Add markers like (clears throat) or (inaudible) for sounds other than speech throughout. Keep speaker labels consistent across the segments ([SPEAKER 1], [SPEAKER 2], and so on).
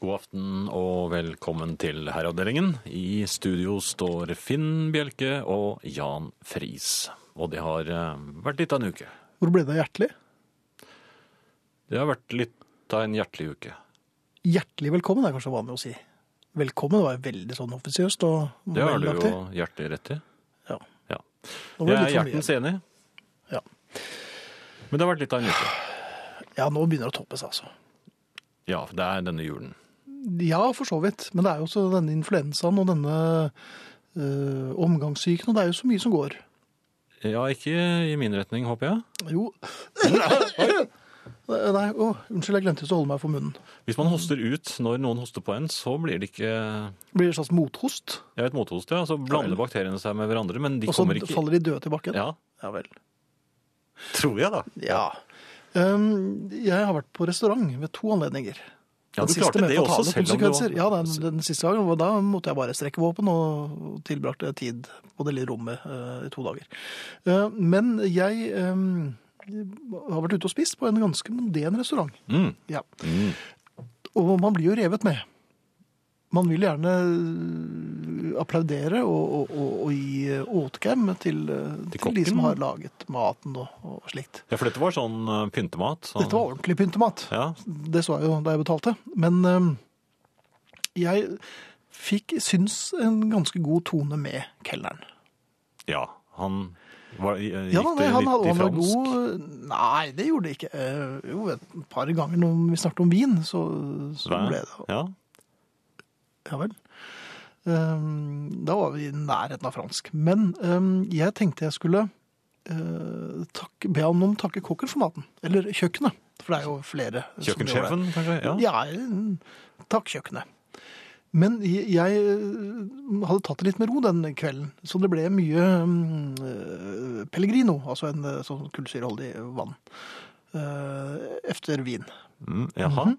[SPEAKER 1] God aften og velkommen til Herreavdelingen. I studio står Finn Bjelke og Jan Friis. Og det har eh, vært litt av en uke.
[SPEAKER 2] Hvor ble det av hjertelig?
[SPEAKER 1] Det har vært litt av en hjertelig uke.
[SPEAKER 2] Hjertelig velkommen er kanskje vanlig å si. Velkommen var veldig sånn offisiøst. Og
[SPEAKER 1] Det har du jo
[SPEAKER 2] velaktig.
[SPEAKER 1] hjertelig rett i.
[SPEAKER 2] Ja.
[SPEAKER 1] Ja.
[SPEAKER 2] Nå
[SPEAKER 1] Jeg er
[SPEAKER 2] ble det litt for mye.
[SPEAKER 1] hjertens enig.
[SPEAKER 2] Ja.
[SPEAKER 1] Men det har vært litt av en uke.
[SPEAKER 2] ja, nå begynner det å toppe seg, altså.
[SPEAKER 1] Ja, for det er denne julen.
[SPEAKER 2] Ja, for så vidt. Men det er jo også denne influensaen og denne øh, omgangssyken, og det er jo så mye som går.
[SPEAKER 1] Ja, ikke i min retning, håper jeg. (laughs)
[SPEAKER 2] Jo Nei, å, unnskyld, jeg glemte å holde meg for munnen.
[SPEAKER 1] Hvis man hoster ut når noen hoster på en, så blir det ikke
[SPEAKER 2] Blir det en slags mothost,
[SPEAKER 1] Jeg vet mothost, ja. Så blander bakteriene seg med hverandre, men de
[SPEAKER 2] og så
[SPEAKER 1] kommer ikke
[SPEAKER 2] faller de døde til bakken?
[SPEAKER 1] Ja,
[SPEAKER 2] ja vel.
[SPEAKER 1] tror jeg, da.
[SPEAKER 2] Ja. Um, jeg har vært på restaurant ved to anledninger.
[SPEAKER 1] Ja,
[SPEAKER 2] Den
[SPEAKER 1] du
[SPEAKER 2] siste
[SPEAKER 1] klarte
[SPEAKER 2] med
[SPEAKER 1] det også,
[SPEAKER 2] fatale
[SPEAKER 1] selv om du
[SPEAKER 2] konsekvenser.
[SPEAKER 1] var
[SPEAKER 2] Ja, den, den siste gangen, var- da måtte jeg bare strekke våpen og tilbrakte tid på det lille rommet eh, i to dager. Eh, men jeg eh, har vært ute og spist på en ganske moden restaurant.
[SPEAKER 1] mm.
[SPEAKER 2] Ja.
[SPEAKER 1] Mm.
[SPEAKER 2] Og man blir jo revet med. Man vil gjerne eh, applaudere og, og, og, og gi eh, åtgaum til, eh,
[SPEAKER 1] Til
[SPEAKER 2] til de
[SPEAKER 1] kokken.
[SPEAKER 2] som har laget maten og, og slikt.
[SPEAKER 1] Ja, for dette var sånn eh, pyntemat. Sånn.
[SPEAKER 2] Dette var ordentlig pyntemat.
[SPEAKER 1] Ja,
[SPEAKER 2] Det så jeg jo da jeg betalte. Men øhm, jeg fikk, syns, en ganske god tone med kelneren.
[SPEAKER 1] ja. Han var, eh, gikk
[SPEAKER 2] Ja, nei,
[SPEAKER 1] det litt
[SPEAKER 2] han, hadde-
[SPEAKER 1] i
[SPEAKER 2] han var
[SPEAKER 1] fransk?
[SPEAKER 2] god sånn Nei, det gjorde det ikke. Eh, Jo, et par ganger når vi snakket om vin, så, så
[SPEAKER 1] Hva?
[SPEAKER 2] ble det
[SPEAKER 1] Ja.
[SPEAKER 2] Ja vel. Øhm, Da var vi i nærheten av fransk. Men øhm, jeg tenkte jeg skulle øh, takke, be han om å takke kokken for maten. Eller kjøkkenet, for det er jo flere. som gjør det.
[SPEAKER 1] Kjøkkensjefen, kanskje? Ja.
[SPEAKER 2] Ja, takk kjøkkenet. Men jeg jeg hadde tatt det litt med ro den kvelden, så det ble mye mm, eh, pellegrino, altså en eh, sånn kullsyreholdig vann, eh, efter vin.
[SPEAKER 1] Mm, jaha.
[SPEAKER 2] Mhm.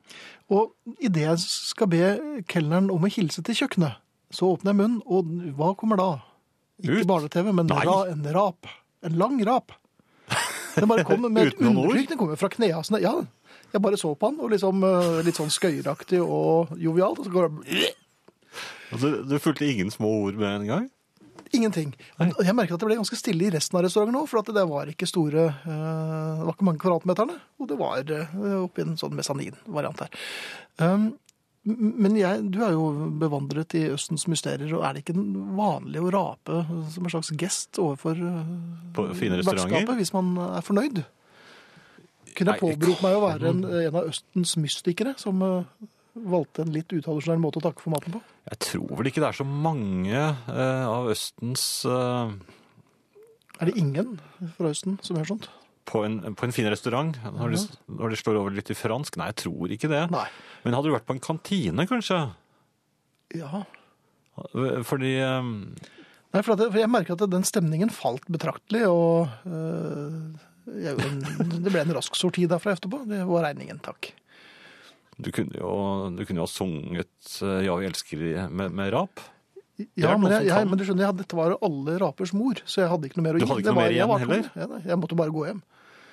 [SPEAKER 2] Og idet jeg skal be kelneren om å hilse til kjøkkenet, så åpner jeg munnen, og hva kommer da? Ikke
[SPEAKER 1] Ut?
[SPEAKER 2] barne-TV, men
[SPEAKER 1] Nei.
[SPEAKER 2] ra, en rap. En lang rap. Den bare
[SPEAKER 1] (laughs)
[SPEAKER 2] kom med et
[SPEAKER 1] Uten noen ord?
[SPEAKER 2] undertrykk. Den kom jo fra knehasene. Ja, jeg bare så på han, og liksom eh, litt sånn skøyeraktig og jovialt, og så går det
[SPEAKER 1] Altså, du fulgte ingen små ord med en gang?
[SPEAKER 2] ingenting.
[SPEAKER 1] Nei.
[SPEAKER 2] Og Jeg merket at det ble ganske stille i resten av restauranten òg, for at det var ikke store eh, Det var ikke mange kvadratmeterne, og det var eh, oppi en sånn mesanin-variant her. Um, m- men jeg, du er jo bevandret i Østens mysterier, og er det ikke vanlig å rape som en slags gest overfor eh,
[SPEAKER 1] På fine restauranter?
[SPEAKER 2] vertskapet hvis man er fornøyd?
[SPEAKER 1] Nei,
[SPEAKER 2] Kunne jeg
[SPEAKER 1] jeg
[SPEAKER 2] påberopt meg å være en, en av Østens mystikere, som eh, valgte en litt utradisjonell måte å takke for maten på?
[SPEAKER 1] Jeg tror vel ikke det er så mange eh, av Østens eh,
[SPEAKER 2] Er det ingen fra Østen som gjør sånt?
[SPEAKER 1] på, en, på en fin restaurant, når de, når de slår over litt i fransk. Nei, jeg tror ikke det.
[SPEAKER 2] Mhm. Nei.
[SPEAKER 1] Men hadde du vært på en kantine, kanskje?
[SPEAKER 2] Ja.
[SPEAKER 1] Fordi eh,
[SPEAKER 2] Nei, for, at, jeg- for jeg merker at den stemningen falt betraktelig, og øh, jeg, gjorde en- det ble en rask sorti derfra etterpå. Det var regningen, takk.
[SPEAKER 1] Du kunne jo, du kunne jo ha sunget eh, Ja, vi elsker i- med, med rap.
[SPEAKER 2] Ja,
[SPEAKER 1] er noe som
[SPEAKER 2] men, jeg, jeg,
[SPEAKER 1] falt.
[SPEAKER 2] men du skjønner, jeg, hadde- dette var alle rapers mor, så jeg hadde ikke noe mer å
[SPEAKER 1] Du
[SPEAKER 2] gi.
[SPEAKER 1] hadde ikke
[SPEAKER 2] Det
[SPEAKER 1] noe mer
[SPEAKER 2] jeg
[SPEAKER 1] igjen
[SPEAKER 2] var ikke- Ja, nei, jeg måtte bare gå hjem.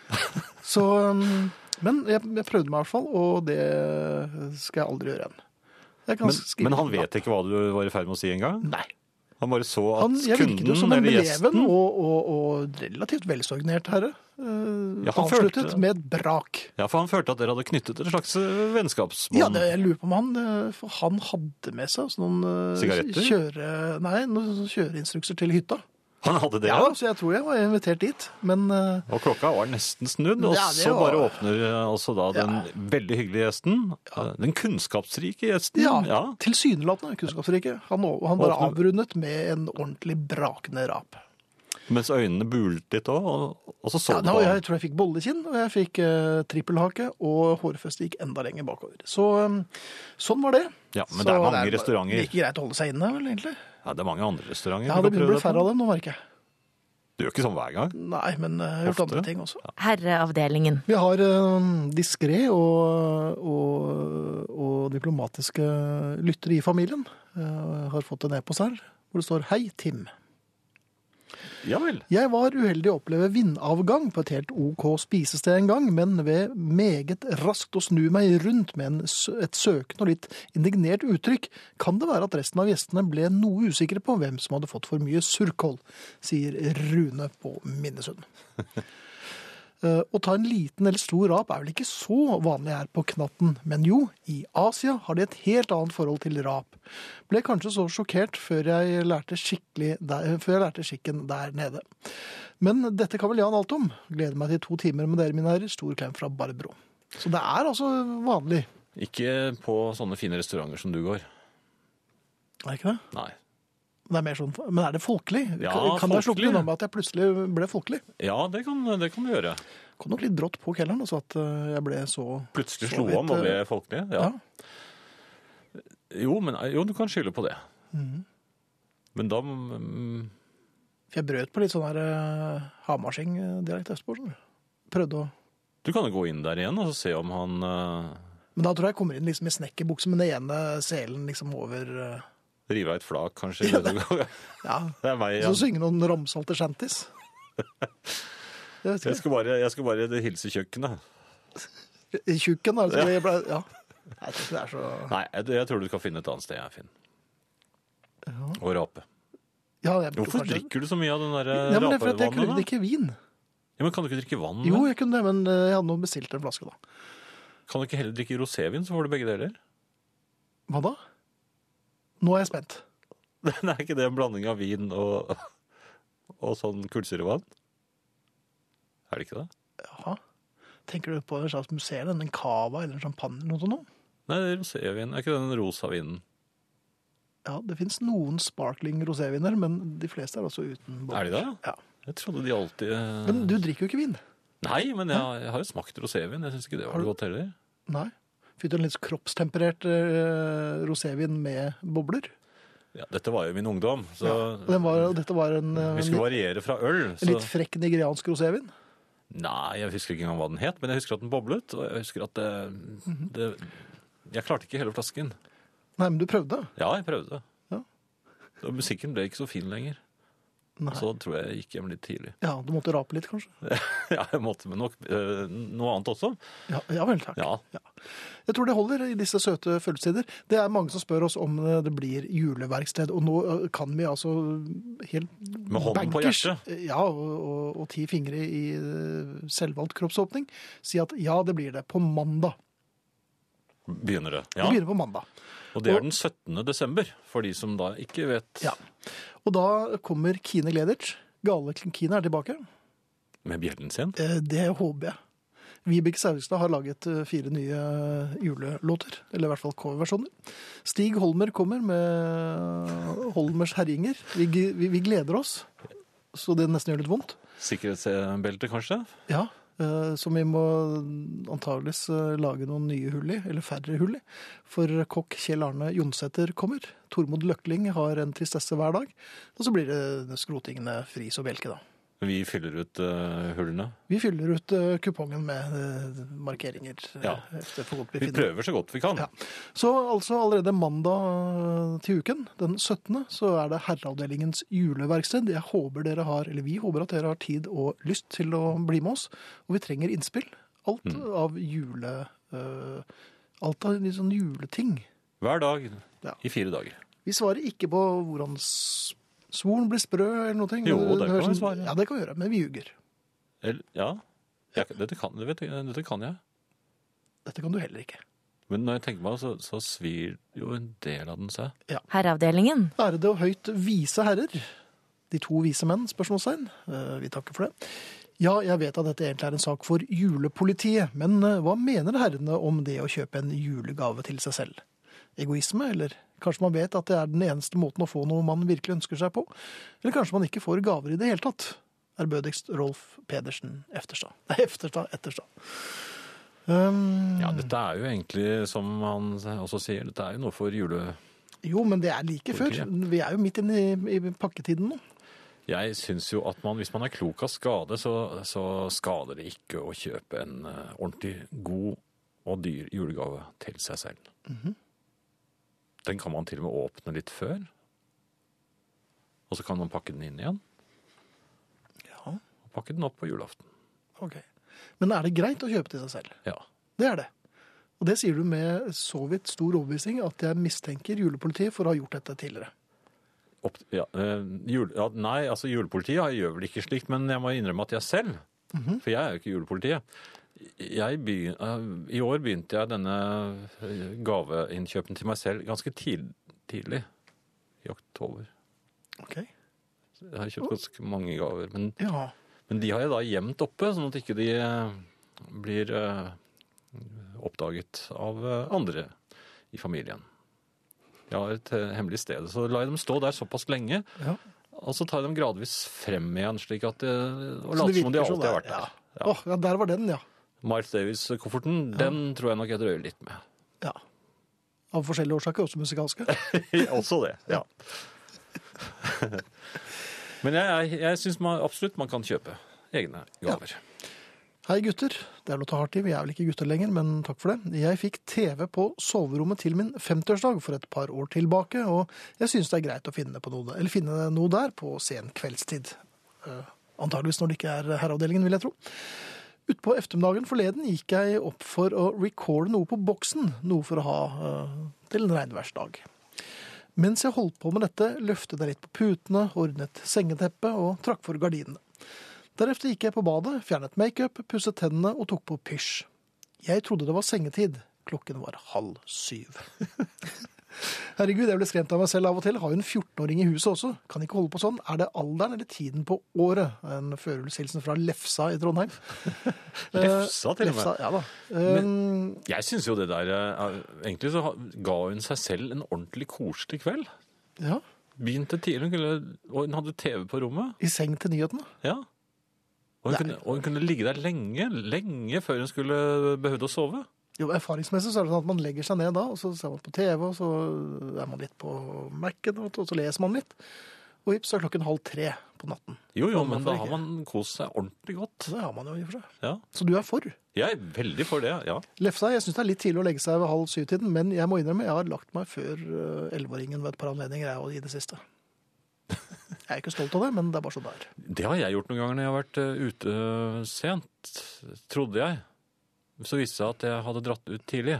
[SPEAKER 2] (laughs) Så, øhm, men jeg, jeg prøvde meg i hvert fall, og det skal jeg aldri gjøre igjen. Jeg kan
[SPEAKER 1] Men,
[SPEAKER 2] skrive-
[SPEAKER 1] men han vet ikke hva du var i ferd med å si engang?
[SPEAKER 2] Nei.
[SPEAKER 1] Han bare så at
[SPEAKER 2] Han, jeg virket jo
[SPEAKER 1] kunden
[SPEAKER 2] som en
[SPEAKER 1] eller
[SPEAKER 2] beleven
[SPEAKER 1] gjesten
[SPEAKER 2] og, og, og relativt velsorgnert herre. øh,
[SPEAKER 1] Ja, han følte
[SPEAKER 2] avsluttet
[SPEAKER 1] det.
[SPEAKER 2] med et brak.
[SPEAKER 1] Ja, for han følte at dere hadde knyttet et slags eh, vennskapsbånd.
[SPEAKER 2] Ja, det, jeg lurer på om han eh, For han hadde med seg altså, noen eh,
[SPEAKER 1] Sigaretter?
[SPEAKER 2] Kjøre, nei, noen sånne kjøreinstrukser til hytta.
[SPEAKER 1] Han hadde det,
[SPEAKER 2] Ja,
[SPEAKER 1] ja.
[SPEAKER 2] Så jeg tror jeg var invitert dit. Men eh,
[SPEAKER 1] Og klokka var nesten snudd, og
[SPEAKER 2] Ja, det
[SPEAKER 1] så
[SPEAKER 2] var-
[SPEAKER 1] bare åpner eh, altså da den veldig hyggelige gjesten, eh, den kunnskapsrike gjesten,
[SPEAKER 2] ja,
[SPEAKER 1] Mm, ja.
[SPEAKER 2] tilsynelatende kunnskapsrike. Han, og- han bare
[SPEAKER 1] Åpne-
[SPEAKER 2] avrundet med en ordentlig brakende rap.
[SPEAKER 1] mens øynene bulet litt òg, og, og så så
[SPEAKER 2] Ja,
[SPEAKER 1] du
[SPEAKER 2] da,
[SPEAKER 1] på
[SPEAKER 2] jeg
[SPEAKER 1] ham.
[SPEAKER 2] tror jeg fikk bollekinn, og jeg fikk eh, trippelhake, og hårfestet gikk enda lenger bakover. Så eh, sånn var det.
[SPEAKER 1] Ja, men
[SPEAKER 2] Så
[SPEAKER 1] det er mange
[SPEAKER 2] bare
[SPEAKER 1] restauranter.
[SPEAKER 2] Like greit å holde seg inne, vel, egentlig.
[SPEAKER 1] Ja, det er mange andre restauranter
[SPEAKER 2] Ja,
[SPEAKER 1] du
[SPEAKER 2] det
[SPEAKER 1] kan
[SPEAKER 2] begynner å
[SPEAKER 1] prøve
[SPEAKER 2] bli
[SPEAKER 1] deg på.
[SPEAKER 2] færre av dem nå, merker jeg.
[SPEAKER 1] Det gjør ikke sånn hver gang.
[SPEAKER 2] Nei, men eh, jeg har gjort
[SPEAKER 1] Ofte.
[SPEAKER 2] andre ting også.
[SPEAKER 3] Herreavdelingen.
[SPEAKER 2] Vi har eh, diskré og, og, og diplomatiske Eh, lyttere i familien. Jeg har fått en e-post her hvor det står 'Hei, Tim'.
[SPEAKER 1] Ja vel.
[SPEAKER 2] Jeg var uheldig å oppleve vindavgang på et helt OK spisested en gang, men ved meget raskt å snu meg rundt med en, s- et søkende og litt indignert uttrykk, kan det være at resten av gjestene ble noe usikre på hvem som hadde fått for mye surkål, sier Rune på Minnesund. Eh, Å ta en liten eller stor rap er vel ikke så vanlig her på knatten, men jo, i Asia har de et helt annet forhold til rap. Ble kanskje så sjokkert før jeg lærte, skikkelig der, før jeg lærte skikken der nede. Men dette kan vel Jan alt om. Gleder meg til to timer med dere, mine herrer. Stor klem fra Barbro. Så det er altså vanlig.
[SPEAKER 1] Ikke på sånne fine restauranter som du går.
[SPEAKER 2] Er det ikke det?
[SPEAKER 1] Nei.
[SPEAKER 2] Det er mer sånn, men er det folkelig?
[SPEAKER 1] Ja,
[SPEAKER 2] kan kan jeg slukke
[SPEAKER 1] folkelig.
[SPEAKER 2] unna med at jeg plutselig ble folkelig?
[SPEAKER 1] Ja, det kan, det kan du gjøre.
[SPEAKER 2] Kom nok litt brått på kelleren, altså at eh, jeg ble så
[SPEAKER 1] Plutselig
[SPEAKER 2] Så
[SPEAKER 1] slo
[SPEAKER 2] vidt,
[SPEAKER 1] han og ble
[SPEAKER 2] eh,
[SPEAKER 1] folkelig.
[SPEAKER 2] Ja.
[SPEAKER 1] Ja. Jo, men, jo, du kan skylde på det.
[SPEAKER 2] Mhm.
[SPEAKER 1] Men da mm,
[SPEAKER 2] For jeg brøt på litt sånn her eh, Hamarsing-dialekt østpå. skjønner du. Prøvde å
[SPEAKER 1] Du kan jo gå inn der igjen og så se om han eh,
[SPEAKER 2] Men da tror jeg jeg kommer inn liksom i snekkerbukse med den ene selen liksom over eh,
[SPEAKER 1] river av et flak, kanskje. (laughs) det.
[SPEAKER 2] Ja.
[SPEAKER 1] er meg
[SPEAKER 2] Så
[SPEAKER 1] igjen.
[SPEAKER 2] synge noen ramsalte shanties.
[SPEAKER 1] (laughs)
[SPEAKER 2] Jeg
[SPEAKER 1] Jeg
[SPEAKER 2] vet ikke.
[SPEAKER 1] skal bare, jeg skal bare hilse kjøkkenet.
[SPEAKER 2] I tjukken, altså. Jeg ble, ja. Nei, Jeg tror ikke det er så
[SPEAKER 1] Nei, jeg, jeg tror du skal finne et annet sted, jeg, Finn.
[SPEAKER 2] Ja.
[SPEAKER 1] Og rape.
[SPEAKER 2] ja jeg tror
[SPEAKER 1] Hvorfor
[SPEAKER 2] kanskje-
[SPEAKER 1] drikker du så mye av den der eh,
[SPEAKER 2] ja, men det er fordi at Jeg
[SPEAKER 1] rapevannet?
[SPEAKER 2] kunne
[SPEAKER 1] da?
[SPEAKER 2] ikke vin.
[SPEAKER 1] Ja, men kan du ikke drikke vann?
[SPEAKER 2] Jo,
[SPEAKER 1] da?
[SPEAKER 2] jeg kunne det, men eh, jeg hadde nå bestilt en flaske, da.
[SPEAKER 1] Kan du ikke heller drikke rosévin, så får du begge deler?
[SPEAKER 2] Hva da? Nå er jeg spent.
[SPEAKER 1] (laughs) Det er ikke det en blanding av vin og, og sånn kullsyrevann? Er det ikke det?
[SPEAKER 2] Jaha. Tenker du på en slags museum? En cava eller en champagne eller noe sånt? nå?
[SPEAKER 1] Nei, det er rosévin. Er ikke det den rosa vinen?
[SPEAKER 2] Ja, det fins noen sparkling roséviner, men de fleste er også uten
[SPEAKER 1] Er de det?
[SPEAKER 2] Ja.
[SPEAKER 1] Jeg trodde de alltid eh,
[SPEAKER 2] Men du drikker jo ikke vin.
[SPEAKER 1] Nei, men jeg, jeg har jo smakt rosévin. Jeg syns ikke det var
[SPEAKER 2] Har du-
[SPEAKER 1] noe godt heller.
[SPEAKER 2] Nei. Fylte en litt kroppstemperert eh, rosévin med bobler.
[SPEAKER 1] Ja, dette var jo min ungdom, så
[SPEAKER 2] Og Den var, og dette var en, eh,
[SPEAKER 1] vi skulle variere fra øl.
[SPEAKER 2] en
[SPEAKER 1] Så...
[SPEAKER 2] litt frekk nigeriansk rosévin.
[SPEAKER 1] Nei, jeg husker ikke engang hva den het, men jeg husker at den boblet. Og jeg husker at det, det Jeg klarte ikke hele flasken.
[SPEAKER 2] Nei, men du prøvde.
[SPEAKER 1] Ja, jeg prøvde.
[SPEAKER 2] Ja.
[SPEAKER 1] Og musikken ble ikke så fin lenger.
[SPEAKER 2] Nei.
[SPEAKER 1] Så tror jeg jeg gikk hjem litt tidlig.
[SPEAKER 2] Ja, du måtte rape litt, kanskje.
[SPEAKER 1] (laughs) ja, jeg måtte med nok, eh, noe annet også.
[SPEAKER 2] Ja, ja vel, takk.
[SPEAKER 1] Ja.
[SPEAKER 2] Jeg tror det holder i disse søte følelsestider. Det er mange som spør oss om eh, det blir juleverksted, og nå eh, kan vi altså helt
[SPEAKER 1] Med hånden på
[SPEAKER 2] bankers,
[SPEAKER 1] hjertet.
[SPEAKER 2] eh, Ja, og, og, og ti fingre i eh, selvvalgt kroppsåpning. Si at ja, det blir det på mandag.
[SPEAKER 1] Begynner det.
[SPEAKER 2] Det
[SPEAKER 1] Ja.
[SPEAKER 2] begynner på mandag.
[SPEAKER 1] Og det er den 17. desember, for de som da ikke vet.
[SPEAKER 2] Ja. Og da kommer Kine Gleditsch. Gale Kine er tilbake.
[SPEAKER 1] Med bjellen sin.
[SPEAKER 2] Eh, Det håper jeg. Vibeke Saugstad har laget eh, fire nye eh, julelåter, eller i hvert fall coverversjoner. Stig Holmer kommer med eh, Holmers herjinger. Vi, g- vi, vi gleder oss, så det nesten gjør litt vondt.
[SPEAKER 1] Sikkerhetsbelte, kanskje.
[SPEAKER 2] Ja, eh, som vi må antageligvis eh, lage noen nye hull i, eller færre hull i. For kokk Kjell Arne Jonsæter kommer. Tormod Løkling har en tristesse hver dag. Og så blir det skrotingene Friis og Bjelke, da.
[SPEAKER 1] Vi fyller ut eh, hullene.
[SPEAKER 2] Vi fyller ut eh, kupongen med eh, markeringer. eh,
[SPEAKER 1] Ja.
[SPEAKER 2] etter hvor godt vi
[SPEAKER 1] Vi
[SPEAKER 2] finner.
[SPEAKER 1] prøver så godt vi kan.
[SPEAKER 2] Ja. Så altså allerede mandag eh, til uken, den 17., så er det Herreavdelingens juleverksted. Jeg håper dere har, eller Vi håper at dere har tid og lyst til å bli med oss. Og vi trenger innspill. Alt
[SPEAKER 1] Mm.
[SPEAKER 2] av jule... eh, alt av litt sånn juleting.
[SPEAKER 1] Hver dag
[SPEAKER 2] Ja.
[SPEAKER 1] i fire dager.
[SPEAKER 2] Vi svarer ikke på hvordan s- svoren blir sprø eller noe.
[SPEAKER 1] Jo, det kan
[SPEAKER 2] er
[SPEAKER 1] vi
[SPEAKER 2] sånn-
[SPEAKER 1] svare.
[SPEAKER 2] Ja, det kan vi gjøre, men vi ljuger.
[SPEAKER 1] Eller, ja. Jeg, dette, kan, det vet jeg, dette kan jeg.
[SPEAKER 2] Dette kan du heller ikke.
[SPEAKER 1] Men når jeg tenker meg, om, så, så svir jo en del av den seg.
[SPEAKER 3] Herreavdelingen.
[SPEAKER 2] Ærede og høyt vise herrer. De to vise menn, spørsmålstegn. Eh, Vi takker for det. Ja, jeg vet at dette egentlig er en sak for julepolitiet, men eh, hva mener herrene om det å kjøpe en julegave til seg selv? Egoisme, eller kanskje man vet at det er den eneste måten å få noe man virkelig ønsker seg på? Eller kanskje man ikke får gaver i det hele tatt? Ærbødigst Rolf Pedersen Efterstad. Nei, Efterstad, Etterstad. Um,
[SPEAKER 1] Ja, dette er jo egentlig, som han også sier, dette er jo noe for jule...
[SPEAKER 2] Jo, men det er like før.
[SPEAKER 1] Politiet.
[SPEAKER 2] Vi er jo midt inne i, i pakketiden nå.
[SPEAKER 1] Jeg syns jo at man, hvis man er klok av skade, så, så skader det ikke å kjøpe en eh, ordentlig god og dyr julegave til seg selv. Den kan man til og med åpne litt før. Og så kan man pakke den inn igjen. pakke den opp på julaften.
[SPEAKER 2] Ok. Men er det greit å kjøpe til seg selv?
[SPEAKER 1] Ja.
[SPEAKER 2] Det er det. Og det sier du med så vidt stor overbevisning at jeg mistenker julepolitiet for å ha gjort dette tidligere.
[SPEAKER 1] Opp, ja, eh, jul, ja, nei, altså julepolitiet gjør vel ikke slikt, men jeg må innrømme at jeg selv, for jeg er jo ikke julepolitiet, jeg begy- eh, I år begynte jeg denne eh, gaveinnkjøpen til meg selv ganske tid, tidlig, i oktober.
[SPEAKER 2] Ok.
[SPEAKER 1] Jeg har kjøpt ganske mange gaver, men,
[SPEAKER 2] Ja.
[SPEAKER 1] men de har jeg da gjemt oppe, sånn at ikke de eh, blir eh, oppdaget av eh, andre i familien. Jeg har et eh, hemmelig sted, så la jeg dem stå der såpass lenge
[SPEAKER 2] ja.
[SPEAKER 1] og så tar jeg dem gradvis frem igjen, slik at det, og
[SPEAKER 2] Så det
[SPEAKER 1] later som de
[SPEAKER 2] virker
[SPEAKER 1] alltid har
[SPEAKER 2] sånn der,
[SPEAKER 1] vært der.
[SPEAKER 2] Ja. Åh, ja, der var den, ja.
[SPEAKER 1] Miles Davis-kofferten, den tror jeg nok jeg drøyer litt
[SPEAKER 2] (laughs)
[SPEAKER 1] med. (laughs)
[SPEAKER 2] ja. Av forskjellige årsaker, også musikalske.
[SPEAKER 1] Også det, ja. (laughs) Men jeg, jeg, jeg syns man, absolutt man kan kjøpe egne gaver.
[SPEAKER 2] Hei gutter, det er lov å ta hardt i, vi er vel ikke gutter lenger, men takk for det. Jeg fikk TV på soverommet til min 50-årsdag for et par år tilbake, og jeg synes det er greit å finne, på noe, der- eller finne noe der på sen kveldstid. Eh, Antageligvis når det ikke er herreavdelingen, vil jeg tro. Utpå eftermiddagen forleden gikk jeg opp for å recorde noe på boksen, noe for å ha eh, til en regnværsdag. Mens jeg holdt på med dette, løftet jeg litt på putene, ordnet sengeteppet og trakk for gardinene. Deretter gikk jeg på badet, fjernet makeup, pusset tennene og tok på pysj. Jeg trodde det var sengetid. Klokken var halv syv. (laughs) Herregud, jeg ble skremt av meg selv av og til. Har jo en 14-åring i huset også. Kan ikke holde på sånn. Er det alderen eller tiden på året? En førjulshilsen fra Lefsa i Trondheim.
[SPEAKER 1] (laughs)
[SPEAKER 2] Eh,
[SPEAKER 1] Lefsa, til og med.
[SPEAKER 2] Lefsa, ja da. Um,
[SPEAKER 1] Jeg syns jo det der eh, er- Egentlig så ha- ga hun seg selv en ordentlig koselig kveld.
[SPEAKER 2] Eh, ja,
[SPEAKER 1] Begynte tidlig, hun kunne, og hun hadde TV på rommet.
[SPEAKER 2] I seng til nyhetene.
[SPEAKER 1] Ja. Og hun,
[SPEAKER 2] Nei.
[SPEAKER 1] kunne, og hun kunne ligge der lenge, lenge før hun skulle behøvde å sove.
[SPEAKER 2] Jo, Erfaringsmessig så er det sånn at man legger seg ned da, og så ser man på TV, og så er man litt på Mac-en, og så leser man litt. Og vips, så er klokken halv tre på natten.
[SPEAKER 1] Jo, jo,
[SPEAKER 2] Ja,
[SPEAKER 1] men
[SPEAKER 2] hvorfor
[SPEAKER 1] da har
[SPEAKER 2] ikke?
[SPEAKER 1] man kost seg ordentlig godt.
[SPEAKER 2] Så det har man jo i og for seg.
[SPEAKER 1] Ja.
[SPEAKER 2] Så du er for.
[SPEAKER 1] Jeg er veldig for det, ja.
[SPEAKER 2] Lefsa, jeg syns det er litt tidlig å legge seg ved halv syv-tiden, men jeg må innrømme jeg har lagt meg før eh, elleveåringen ved et par anledninger jeg, og i det siste. Jeg er ikke stolt av det, men det er bare sånn det er.
[SPEAKER 1] Det har jeg gjort noen ganger når jeg har vært eh, ute sent, trodde jeg. Så viste det seg at jeg hadde dratt ut tidlig.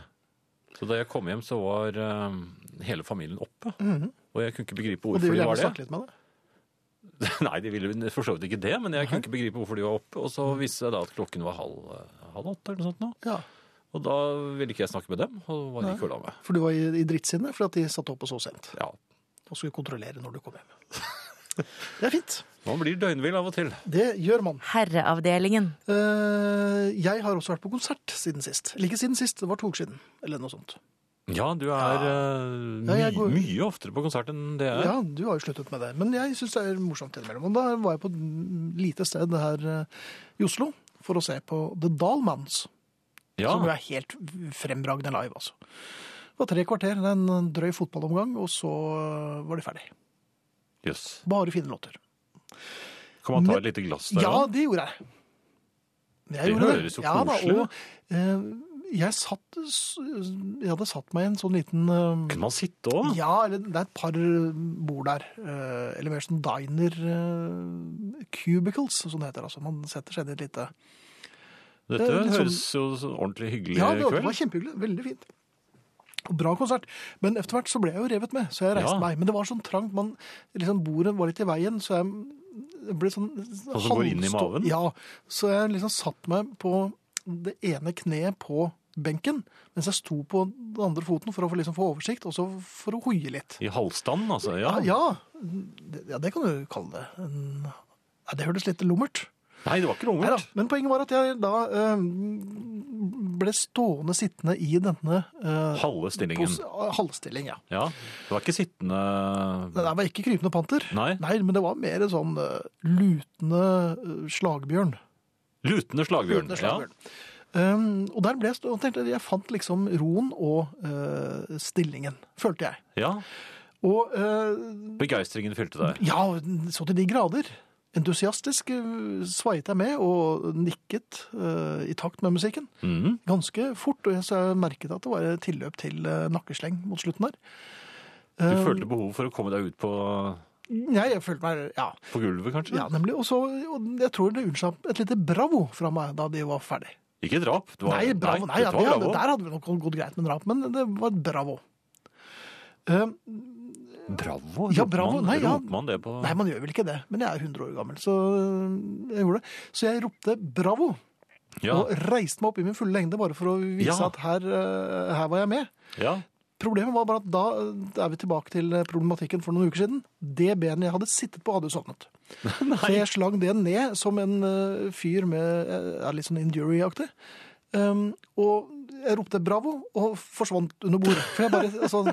[SPEAKER 1] Så da jeg kom hjem, så var eh, hele familien oppe. Og jeg kunne ikke begripe
[SPEAKER 2] Mhm. Og de
[SPEAKER 1] hvorfor
[SPEAKER 2] vil
[SPEAKER 1] de var det. (laughs)
[SPEAKER 2] gjerne snakke litt med deg.
[SPEAKER 1] Nei, de ville for så vidt ikke det, men jeg kunne ikke begripe hvorfor de var oppe. Og så viste det seg da at klokken var halv, eh, halv åtte eller noe sånt nå.
[SPEAKER 2] Ja,
[SPEAKER 1] Og da ville ikke jeg snakke med dem, og var ikke å la meg.
[SPEAKER 2] For du var i, i drittsinne fordi at de satt oppe så sent
[SPEAKER 1] Ja,
[SPEAKER 2] og skulle kontrollere når du kom
[SPEAKER 1] (laughs)
[SPEAKER 2] hjem. Det er fint.
[SPEAKER 1] man blir døgnvill av og til.
[SPEAKER 2] Det gjør man.
[SPEAKER 3] Herreavdelingen.
[SPEAKER 2] Eh, jeg har også vært på konsert siden sist. Eller ikke siden sist, det var to uker siden. Eller noe sånt.
[SPEAKER 1] Ja, du er eh,
[SPEAKER 2] Ja, jeg
[SPEAKER 1] my
[SPEAKER 2] går-
[SPEAKER 1] mye oftere på konsert enn det jeg er.
[SPEAKER 2] Ja, du har jo sluttet med det. Men jeg syns det er morsomt innimellom. Og da var jeg på et lite sted her eh, i Oslo for å se på The Dalmans.
[SPEAKER 1] Ja,
[SPEAKER 2] Som jo er helt fremragende live, altså. Det var tre kvarter, det er en drøy fotballomgang, og så eh, var de ferdig.
[SPEAKER 1] jøss.
[SPEAKER 2] Bare fine låter.
[SPEAKER 1] Kan man ta
[SPEAKER 2] Men-
[SPEAKER 1] et lite glass der?
[SPEAKER 2] Ja,
[SPEAKER 1] da?
[SPEAKER 2] det gjorde jeg. jeg
[SPEAKER 1] Det
[SPEAKER 2] gjorde
[SPEAKER 1] høres jo
[SPEAKER 2] Ja da,
[SPEAKER 1] koselig
[SPEAKER 2] og, eh, jeg, satt, s- jeg hadde satt meg i en sånn liten eh,
[SPEAKER 1] Kunne man sitte òg?
[SPEAKER 2] Ja, eller det er et par eh, bord der. eh, Eller mer sånn diner eh, cubicles, som det heter. Altså. Man setter seg ned et lite
[SPEAKER 1] Dette
[SPEAKER 2] det er litt sånn-
[SPEAKER 1] høres jo så ordentlig hyggelig
[SPEAKER 2] Ja, det var- det var
[SPEAKER 1] kveld.
[SPEAKER 2] kjempehyggelig. Veldig fint. Og Bra konsert. Men etter hvert så ble jeg jo revet med, så jeg reiste
[SPEAKER 1] Ja.
[SPEAKER 2] meg. Men det var sånn trangt. Man, liksom, bordet var litt i veien, så jeg jeg ble sånn
[SPEAKER 1] som går inn i
[SPEAKER 2] halvstå-
[SPEAKER 1] maven?
[SPEAKER 2] Ja. Så jeg liksom satt meg på det ene kneet på benken, mens jeg sto på den andre foten for å få, liksom, få oversikt, og så for å hoie litt.
[SPEAKER 1] I halvstand, altså. Ja.
[SPEAKER 2] Ja, ja, det- ja, det kan du kalle det. En- Ja, det hørtes litt lummert.
[SPEAKER 1] Nei, det var ikke
[SPEAKER 2] Neida,
[SPEAKER 1] lummert.
[SPEAKER 2] men poenget var at jeg da eh, ble stående sittende i denne eh,
[SPEAKER 1] Halve stillingen.
[SPEAKER 2] pos- ah, halvstilling. ja.
[SPEAKER 1] Ja. Det var ikke sittende
[SPEAKER 2] Det der var ikke krypende panter,
[SPEAKER 1] Nei.
[SPEAKER 2] men det var mer en sånn eh, lutende eh, slagbjørn.
[SPEAKER 1] Lutende slagbjørn. Ja.
[SPEAKER 2] Lutende slagbjørn. Um, og der ble jeg stå- og tenkte, jeg fant liksom roen og eh, stillingen, følte jeg.
[SPEAKER 1] ja.
[SPEAKER 2] Og eh,
[SPEAKER 1] Begeistringen fylte deg.
[SPEAKER 2] ja, så til de grader. Entusiastisk eh, svaiet jeg med og nikket eh, i takt med musikken.
[SPEAKER 1] Mhm.
[SPEAKER 2] ganske fort, og jeg- så jeg merket at det var et tilløp til eh, nakkesleng mot slutten der.
[SPEAKER 1] Du
[SPEAKER 2] Eh,
[SPEAKER 1] følte behov for å komme deg ut på
[SPEAKER 2] Nei, jeg følte meg Ja,
[SPEAKER 1] På gulvet, kanskje?
[SPEAKER 2] ja nemlig. Og så og jeg tror det unnslapp et lite bravo fra meg da de var ferdig.
[SPEAKER 1] Ikke drap. Det var-
[SPEAKER 2] Nei, bravo. Nei, ja,
[SPEAKER 1] det
[SPEAKER 2] det
[SPEAKER 1] var bravo.
[SPEAKER 2] hadde, der hadde vi nok gått greit med drap, men det var et bravo. Eh,
[SPEAKER 1] Bravo?
[SPEAKER 2] Ja,
[SPEAKER 1] roper
[SPEAKER 2] bravo.
[SPEAKER 1] man-
[SPEAKER 2] Nei, ja.
[SPEAKER 1] Roper man det på
[SPEAKER 2] nei, man gjør vel ikke det, men jeg er 100 år gammel, så eh, jeg gjorde det. Så jeg ropte bravo,
[SPEAKER 1] ja,
[SPEAKER 2] og reiste meg opp i min fulle lengde bare for å vise
[SPEAKER 1] Ja.
[SPEAKER 2] at her, eh, her var jeg med.
[SPEAKER 1] ja.
[SPEAKER 2] Problemet var bare at da eh, er vi tilbake til problematikken for noen uker siden. Det benet jeg hadde sittet på,
[SPEAKER 1] (laughs)
[SPEAKER 2] hadde sovnet. Så jeg slang det ned som en eh, fyr med eh, er litt sånn injury-aktig. Um, og jeg ropte bravo og forsvant under bordet. For jeg bare, altså,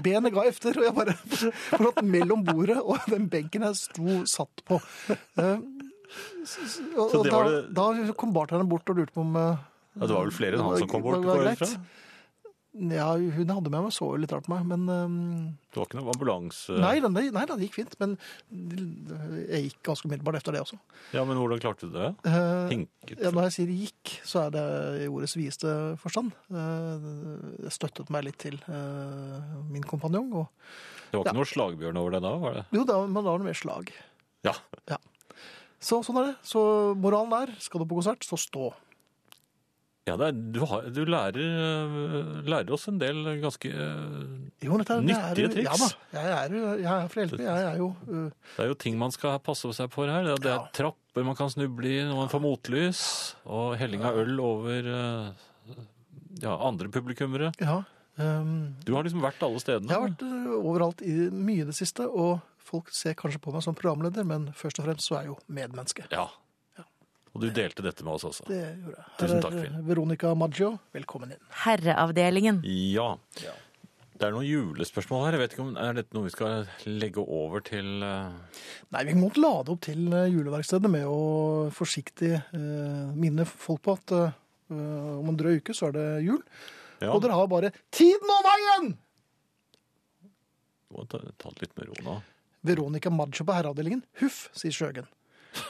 [SPEAKER 2] benet ga efter, og jeg bare (laughs) forlot mellom bordet og den benken jeg sto satt på. Um, s- s- og,
[SPEAKER 1] Så
[SPEAKER 2] og
[SPEAKER 1] det
[SPEAKER 2] da,
[SPEAKER 1] var det-
[SPEAKER 2] da kom bartenderen bort og lurte på om eh,
[SPEAKER 1] Ja, Det var vel flere enn han som kom
[SPEAKER 2] Var-
[SPEAKER 1] bort?
[SPEAKER 2] var
[SPEAKER 1] går jeg ut
[SPEAKER 2] greit?
[SPEAKER 1] fra.
[SPEAKER 2] ja, hun jeg hadde med meg, så jo litt rart på meg, men um,
[SPEAKER 1] Det var ikke noe ambulanse?
[SPEAKER 2] Nei, den, nei, den gikk fint, men jeg gikk ganske umiddelbart etter det også.
[SPEAKER 1] Ja, men hvordan klarte du det?
[SPEAKER 2] Eh,
[SPEAKER 1] Hinket?
[SPEAKER 2] ja, når jeg sier gikk, så er det i ordets videste forstand. Eh, jeg støttet meg litt til eh, min kompanjong. Og,
[SPEAKER 1] Det var ikke noe slagbjørn over det da, var det?
[SPEAKER 2] jo, da, men da var det mer slag.
[SPEAKER 1] Ja.
[SPEAKER 2] Så sånn er det. Så moralen er, skal du på konsert, så stå.
[SPEAKER 1] ja det er, du, har, du lærer, øh, lærer oss en del ganske øh,
[SPEAKER 2] Jo, dette er, jeg
[SPEAKER 1] Nyttige
[SPEAKER 2] er, jo- Ja da,
[SPEAKER 1] triks.
[SPEAKER 2] jeg er, jo- jeg er fra Hjelpe. Jeg er jo eh,
[SPEAKER 1] Det er jo ting man skal passe seg for her. Det er, det er
[SPEAKER 2] Ja.
[SPEAKER 1] trapper man kan snuble i når man får motlys, og helling av øl over øh, ja, andre publikummere.
[SPEAKER 2] Ja. ehm,
[SPEAKER 1] Du har liksom vært alle stedene.
[SPEAKER 2] Jeg har vært eh, overalt i mye i det siste, og folk ser kanskje på meg som programleder, men først og fremst så er jeg jo medmenneske.
[SPEAKER 1] Ja. Og du delte dette med oss også.
[SPEAKER 2] Det gjorde jeg.
[SPEAKER 1] Tusen takk,
[SPEAKER 2] Her er
[SPEAKER 1] Finn.
[SPEAKER 2] Veronica Maggio, velkommen inn.
[SPEAKER 3] Herreavdelingen.
[SPEAKER 1] Ja. Det er noen julespørsmål her. Jeg vet ikke om Er dette noe vi skal legge over til øh,
[SPEAKER 2] Nei, vi må ikke lade opp til eh, juleverkstedet med å forsiktig eh, minne folk på at eh, om en drøy uke så er det jul.
[SPEAKER 1] Ja,
[SPEAKER 2] Og dere har bare tiden og veien!
[SPEAKER 1] du må ta, ta det litt med ro nå.
[SPEAKER 2] Veronica Maggio på herreavdelingen. Huff, sier Sjøgen.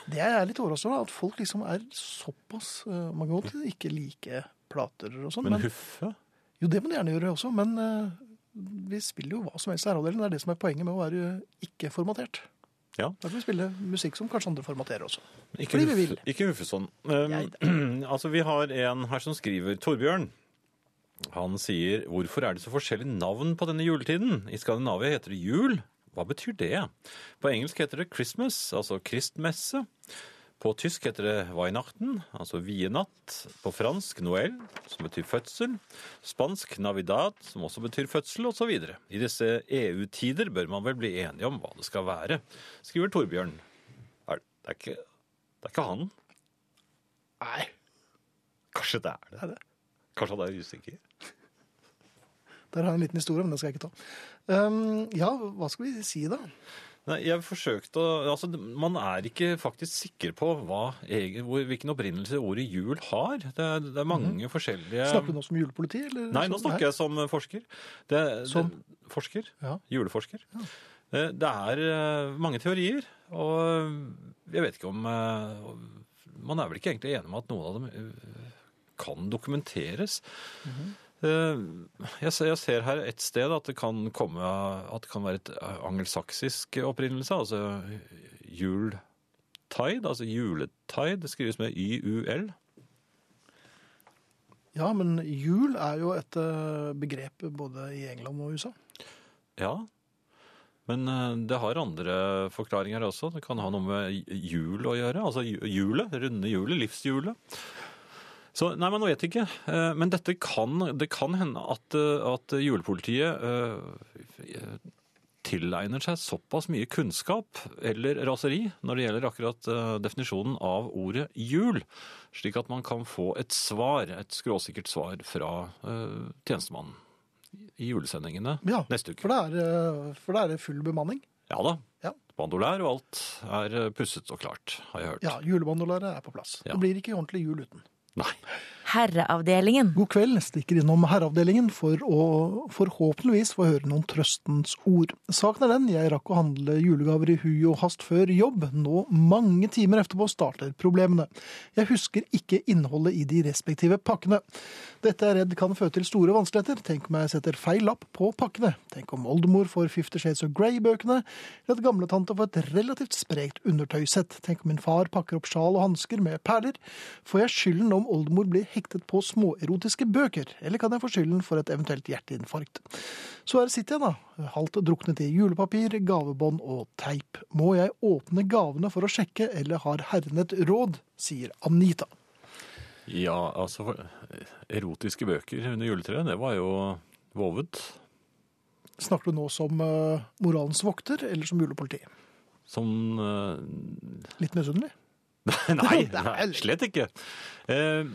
[SPEAKER 2] Det er jeg litt overrasket over, at folk liksom er såpass eh, Man kan godt ikke like plater og sånn,
[SPEAKER 1] Men
[SPEAKER 2] men
[SPEAKER 1] Huffe?
[SPEAKER 2] Jo, det må du gjerne gjøre også, men eh, vi spiller jo hva som helst i herreavdelingen. Det er det som er poenget med å være ikke formatert.
[SPEAKER 1] Ja.
[SPEAKER 2] Da kan vi spille musikk som kanskje andre formaterer også.
[SPEAKER 1] Ikke,
[SPEAKER 2] Fordi vi
[SPEAKER 1] Huff-
[SPEAKER 2] vil.
[SPEAKER 1] ikke Huffesson. Um, (clears throat) altså, vi har en her som skriver Torbjørn. Han sier hvorfor er det så forskjellige navn på denne juletiden? I Skandinavia heter det jul. Hva betyr det? På engelsk heter det Christmas, altså kristmesse. På tysk heter det Weihnachten, altså vienatt. På fransk Noël, som betyr fødsel. Spansk Navidad, som også betyr fødsel, osv. I disse EU-tider bør man vel bli enige om hva det skal være, skriver Torbjørn. Er, det er ikke det er ikke han.
[SPEAKER 2] Nei.
[SPEAKER 1] Kanskje det er det.
[SPEAKER 2] Er det?
[SPEAKER 1] Kanskje han er usikker.
[SPEAKER 2] Der har jeg en liten historie, men den skal jeg ikke ta. Um, ja, hva skal vi si da?
[SPEAKER 1] Ehm. Nei, jeg forsøkte å Altså, man er ikke faktisk sikker på hva, egen- hvor, hvilken opprinnelse ordet jul har. Det er, det er mange forskjellige
[SPEAKER 2] Snakker vi nå som julepoliti? Eller?
[SPEAKER 1] Mhm. Nei, nå snakker jeg som forsker. Det,
[SPEAKER 2] Som?
[SPEAKER 1] Det, forsker.
[SPEAKER 2] Ja.
[SPEAKER 1] Juleforsker. Eh, Det er eh, mange teorier, og jeg vet ikke om eh, Man er vel ikke egentlig enig om at noen av dem eh, kan dokumenteres. Eh, jeg, ser, jeg ser her et sted at det kan komme At det kan være et eh, angelsaksisk opprinnelse, altså jultide, altså juletide. Det skrives med YUL.
[SPEAKER 2] Ja, men jul er jo et eh, begrep både i England og USA.
[SPEAKER 1] Ja. Men eh, det har andre forklaringer også. Det kan ha noe med j- jul å gjøre. Altså ju- hjulet, runde hjulet, livshjulet. Så nei, men nå vet jeg ikke. Eh, Men dette kan, det kan hende at, eh, at julepolitiet eh, tilegner seg såpass mye kunnskap eller raseri når det gjelder akkurat eh, definisjonen av ordet jul, slik at man kan få et svar, et skråsikkert svar fra eh, tjenestemannen i julesendingene
[SPEAKER 2] Ja,
[SPEAKER 1] neste uke.
[SPEAKER 2] For det er, eh, for det er full bemanning.
[SPEAKER 1] Ja da.
[SPEAKER 2] Ja.
[SPEAKER 1] Bandolær og alt er eh, pusset og klart, har jeg hørt.
[SPEAKER 2] Ja, julebandolæret er på plass.
[SPEAKER 1] Ja.
[SPEAKER 2] Det blir ikke ordentlig jul uten.
[SPEAKER 1] Nei.
[SPEAKER 3] Herreavdelingen.
[SPEAKER 2] God kveld. Stikker innom herreavdelingen for å forhåpentligvis få høre noen trøstens ord. Saken er den, jeg rakk å handle julegaver i hui og hast før jobb. Nå, mange timer etterpå, starter problemene. Jeg husker ikke innholdet i de respektive pakkene. Dette er jeg redd kan føre til store vanskeligheter. Tenk om jeg setter feil lapp på pakkene. Tenk om oldemor får Fifty Shades of Grey-bøkene, eller at gamletante får et relativt sprekt undertøysett. Tenk om min far pakker opp sjal og hansker med perler. Får jeg skylden om oldemor blir hektet på småerotiske bøker, eller kan jeg få skylden for et eventuelt hjerteinfarkt? Så her sitter jeg, da, halvt druknet i julepapir, gavebånd og teip. Må jeg åpne gavene for å sjekke, eller har herren et råd? sier Anita.
[SPEAKER 1] Ja, altså for- Erotiske bøker under juletreet, det var jo vovet.
[SPEAKER 2] Snakker du nå som eh, moralens vokter, eller som julepoliti?
[SPEAKER 1] Som eh, (laughs)
[SPEAKER 2] Litt misunnelig?
[SPEAKER 1] Nei,
[SPEAKER 2] (laughs) Det er
[SPEAKER 1] nei,
[SPEAKER 2] vel-
[SPEAKER 1] slett ikke. Eh,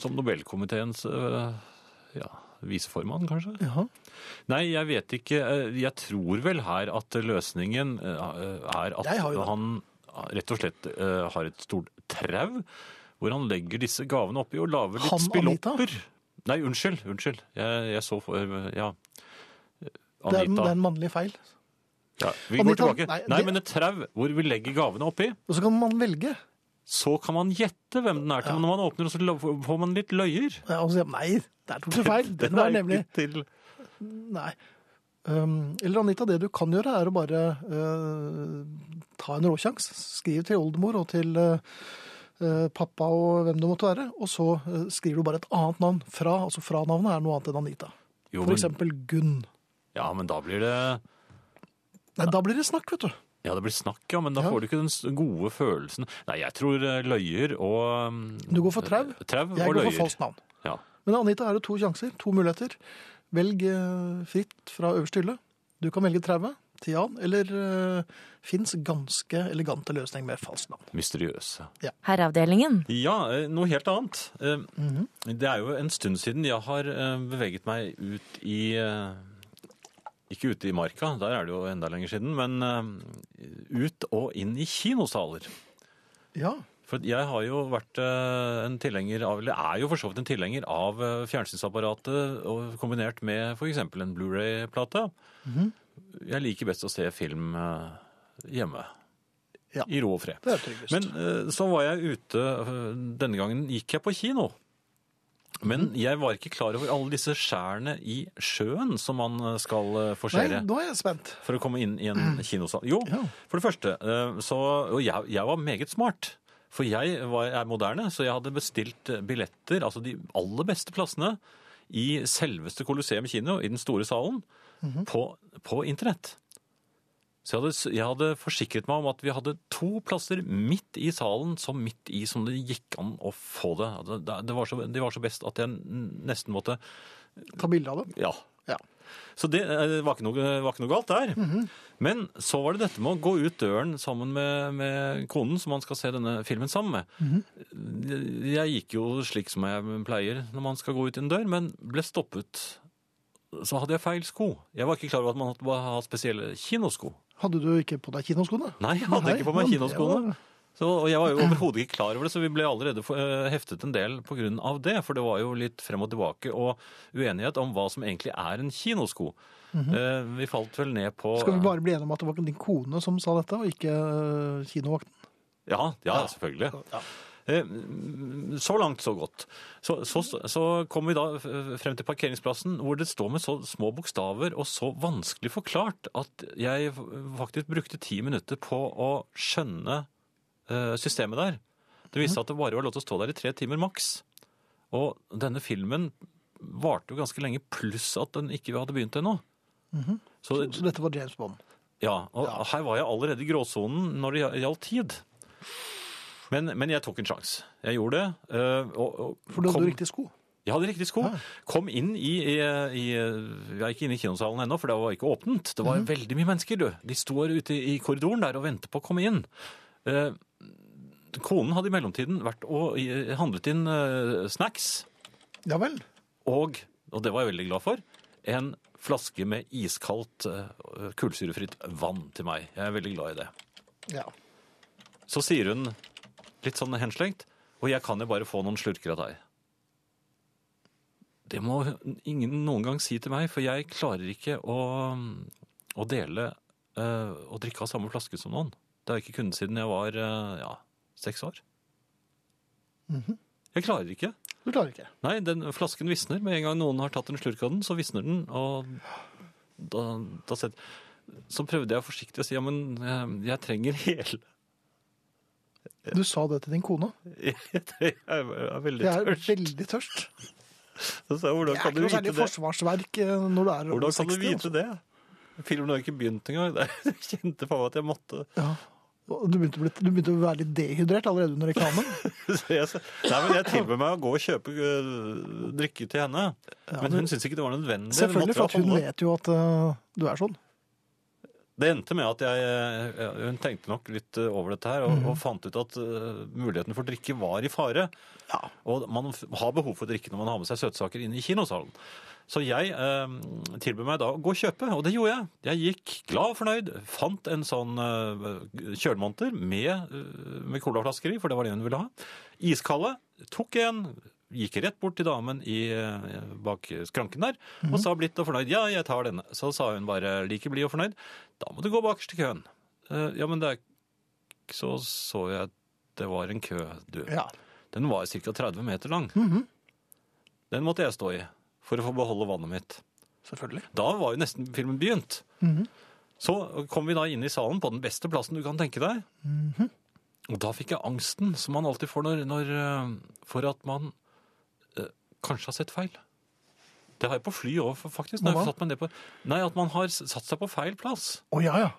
[SPEAKER 1] som Nobelkomiteens eh, ja, viseformann, kanskje?
[SPEAKER 2] Jaha.
[SPEAKER 1] Nei, jeg vet ikke. Eh, Jeg tror vel her at løsningen eh, er at
[SPEAKER 2] Jeg har jo det.
[SPEAKER 1] han rett og slett eh, har et stort trau, hvor han legger disse gavene oppi og lager litt
[SPEAKER 2] Han, Anita?
[SPEAKER 1] spillopper. Nei, unnskyld. Unnskyld. Jeg, jeg så for eh, Ja.
[SPEAKER 2] Det er, en- det
[SPEAKER 1] Anita.
[SPEAKER 2] er en mannlig feil.
[SPEAKER 1] ja, vi går
[SPEAKER 2] Anita,
[SPEAKER 1] tilbake.
[SPEAKER 2] nei,
[SPEAKER 1] Nei,
[SPEAKER 2] det-
[SPEAKER 1] men et trau hvor vi legger gavene oppi.
[SPEAKER 2] Og så kan man velge.
[SPEAKER 1] Så kan man gjette hvem den er til. Når man åpner, så la- får man litt løyer.
[SPEAKER 2] Ja, og så, sier man, nei, der tok du
[SPEAKER 1] (laughs)
[SPEAKER 2] feil. Den var
[SPEAKER 1] er
[SPEAKER 2] nemlig
[SPEAKER 1] ikke til
[SPEAKER 2] Nei. Um, eller Anita, det du kan gjøre er å bare eh, ta en råsjans. Skriv til oldemor og til eh, eh, pappa og hvem det måtte være, og så eh, skriver du bare et annet navn fra. Altså fra navnet er noe annet enn Anita.
[SPEAKER 1] jo,
[SPEAKER 2] For
[SPEAKER 1] men,
[SPEAKER 2] eksempel Gunn.
[SPEAKER 1] Ja, men da blir det
[SPEAKER 2] Nei, da blir det snakk, vet du.
[SPEAKER 1] Ja, det blir snakk, ja, men da
[SPEAKER 2] Ja.
[SPEAKER 1] får du ikke den s- gode følelsen. Nei, jeg tror eh, løyer og mm,
[SPEAKER 2] Du går for trau.
[SPEAKER 1] Trau og
[SPEAKER 2] Jeg går
[SPEAKER 1] løyer.
[SPEAKER 2] for falskt navn.
[SPEAKER 1] Ja.
[SPEAKER 2] Men Anita, er det to sjanser, to muligheter. Velg eh, fritt fra øverste hylle. Du kan velge trauet, Tian, eller uh, Finns ganske elegante løsning med falskt navn.
[SPEAKER 1] Mysteriøse.
[SPEAKER 3] Herreavdelingen.
[SPEAKER 1] Ja, eh, noe helt annet. Eh,
[SPEAKER 2] Mhm.
[SPEAKER 1] Det er jo en stund siden jeg har eh, beveget meg ut i eh, Ikke ute i marka, der er det jo enda lenger siden, men eh, ut og inn i kinosaler.
[SPEAKER 2] Ja,
[SPEAKER 1] For jeg har jo vært eh, en tilhenger av, eller er jo for så vidt en tilhenger av eh, fjernsynsapparatet, og kombinert med f.eks. en Blu-ray-plate.
[SPEAKER 2] Mhm.
[SPEAKER 1] Jeg liker best å se film eh, hjemme.
[SPEAKER 2] Ja.
[SPEAKER 1] I ro og fred.
[SPEAKER 2] det er tryggest.
[SPEAKER 1] Men eh, så var jeg ute eh, Denne gangen gikk jeg på kino. Men
[SPEAKER 2] Mhm.
[SPEAKER 1] jeg var ikke klar over alle disse skjærene i sjøen som man eh, skal eh, forsere
[SPEAKER 2] Nei, nå er jeg spent.
[SPEAKER 1] for å komme inn i en kinosal. Jo,
[SPEAKER 2] Ja.
[SPEAKER 1] for det første, eh, så, og jeg, jeg var meget smart. For jeg var, er moderne, så jeg hadde bestilt eh, billetter, altså de aller beste plassene, i selveste Colosseum kino, i den store salen, på, på internett. Så jeg hadde, s- jeg hadde forsikret meg om at vi hadde to plasser midt i salen, så midt i som det gikk an å få det. Altså, Det- Det, det, var, så, det var så best at jeg n- nesten måtte
[SPEAKER 2] Ta bilde av det.
[SPEAKER 1] ja.
[SPEAKER 2] Ja.
[SPEAKER 1] Så det eh, var ikke noe, var ikke noe galt der. Men så var det dette med å gå ut døren sammen med, med konen som man skal se denne filmen sammen med. Jeg gikk jo slik som jeg pleier når man skal gå ut en dør, men ble stoppet. Så hadde jeg feil sko. Jeg var ikke klar over at man hadde ha spesielle kinosko.
[SPEAKER 2] Hadde du ikke på deg kinoskoene?
[SPEAKER 1] Nei, jeg hadde
[SPEAKER 2] Nei,
[SPEAKER 1] ikke på meg
[SPEAKER 2] men det
[SPEAKER 1] kinoskoene.
[SPEAKER 2] var-
[SPEAKER 1] Så, og jeg var jo overhodet ikke klar over det, så vi ble allerede eh, heftet en del på grunn av det. For det var jo litt frem og tilbake og uenighet om hva som egentlig er en kinosko. Eh, Vi falt vel ned på
[SPEAKER 2] Mhm. Skal vi bare bli enige om at det var din kone som sa dette, og ikke øh, kinovakten?
[SPEAKER 1] Ja, ja, selvfølgelig. Eh, Så langt, så godt. Så, så, så kom vi da eh, frem til parkeringsplassen, hvor det står med så små bokstaver og så vanskelig forklart at jeg faktisk brukte ti minutter på å skjønne eh, systemet der. Det viste seg at det bare var lov til å stå der i tre timer maks. Og denne filmen varte jo ganske lenge, pluss at den ikke hadde begynt ennå. Så
[SPEAKER 2] Så dette var James Bond.
[SPEAKER 1] ja, og her var jeg allerede i gråsonen når det gjaldt tid. Men, men jeg tok en sjanse. Jeg gjorde det. øh, og, og
[SPEAKER 2] For du hadde
[SPEAKER 1] kom-
[SPEAKER 2] jo riktig sko.
[SPEAKER 1] Jeg hadde riktig sko. Kom inn i, i, i Jeg er ikke inne i kinosalen ennå, for det var ikke åpent. Det
[SPEAKER 2] Mhm.
[SPEAKER 1] var veldig mye mennesker, du. De står ute i korridoren der og venter på å komme inn. Eh, konen hadde i mellomtiden vært og eh, handlet inn eh, snacks
[SPEAKER 2] Ja vel.
[SPEAKER 1] og, og det var jeg veldig glad for, en flaske med iskaldt eh, kullsyrefritt vann til meg. Jeg er veldig glad i det.
[SPEAKER 2] Ja.
[SPEAKER 1] Så sier hun litt sånn henslengt, og jeg kan jo bare få noen slurker av deg. Det må ingen noen gang si til meg, for jeg klarer ikke å, å dele eh, og drikke av samme flaske som noen. Det har jeg ikke kunnet siden jeg var eh, ja, seks år. Jeg klarer ikke.
[SPEAKER 2] Du klarer ikke.
[SPEAKER 1] Nei, den flasken visner. Med en gang noen har tatt en slurk av den, så visner den. Og da, da sett, så prøvde jeg forsiktig å si ja, men eh, jeg trenger hele. (laughs)
[SPEAKER 2] Du sa det til din kone.
[SPEAKER 1] Jeg tre- jeg er veldig
[SPEAKER 2] Jeg er
[SPEAKER 1] tørst.
[SPEAKER 2] veldig tørst.
[SPEAKER 1] Så sa jeg, hvordan
[SPEAKER 2] Det er
[SPEAKER 1] kan
[SPEAKER 2] ikke
[SPEAKER 1] du
[SPEAKER 2] noe særlig
[SPEAKER 1] vite det?
[SPEAKER 2] forsvarsverk eh, når du er over
[SPEAKER 1] Hvordan kan
[SPEAKER 2] 60.
[SPEAKER 1] du vite
[SPEAKER 2] altså.
[SPEAKER 1] det? Filmen har ikke begynt engang. (laughs) Jeg kjente på meg at jeg måtte (laughs)
[SPEAKER 2] Ja. Og Du begynte, å bli, du begynte å være litt dehydrert allerede under
[SPEAKER 1] (laughs)
[SPEAKER 2] reklamen.
[SPEAKER 1] Så jeg sa, Nei, men jeg tilbød meg å gå og kjøpe øh, drikke til henne. Men hun syntes ikke det var nødvendig. Det måtte
[SPEAKER 2] Selvfølgelig, for
[SPEAKER 1] jeg
[SPEAKER 2] at hun
[SPEAKER 1] holde.
[SPEAKER 2] vet jo at eh, du er sånn.
[SPEAKER 1] Det endte med at jeg, ja, hun tenkte nok litt øh, over dette her, og, og fant ut at øh, muligheten for drikke var i fare.
[SPEAKER 2] Ja.
[SPEAKER 1] Og man f- har behov for drikke når man har med seg søtsaker inn i kinosalen. Så jeg eh, tilbød meg da å gå og kjøpe, og det gjorde jeg. Jeg gikk glad og fornøyd, fant en sånn eh, kjølmonter med, eh, med colaflasker i, for det var det hun ville ha. Iskalde. Tok en. Gikk rett bort til damen i, eh, bak skranken der og sa blidt og fornøyd. Ja, jeg tar denne. Så sa hun bare like blid og fornøyd. Da må du gå bakerst i køen. Eh, ja, men det er ikke- Så så jeg at det var en kø, du.
[SPEAKER 2] Ja.
[SPEAKER 1] Den var ca. 30 meter lang.
[SPEAKER 2] Mhm.
[SPEAKER 1] Den måtte jeg stå i for å få beholde vannet mitt.
[SPEAKER 2] Selvfølgelig.
[SPEAKER 1] Da var jo nesten filmen begynt.
[SPEAKER 2] Mhm.
[SPEAKER 1] Så kom vi da inn i salen på den beste plassen du kan tenke deg.
[SPEAKER 2] Mhm.
[SPEAKER 1] Og da fikk jeg angsten som man alltid får når, når eh, For at man eh, kanskje har sett feil. Det har jeg på fly òg, faktisk. Når
[SPEAKER 2] Hva
[SPEAKER 1] jeg
[SPEAKER 2] da?
[SPEAKER 1] satt meg ned på, nei, At man har s- satt seg på feil plass.
[SPEAKER 2] Å ja, ja.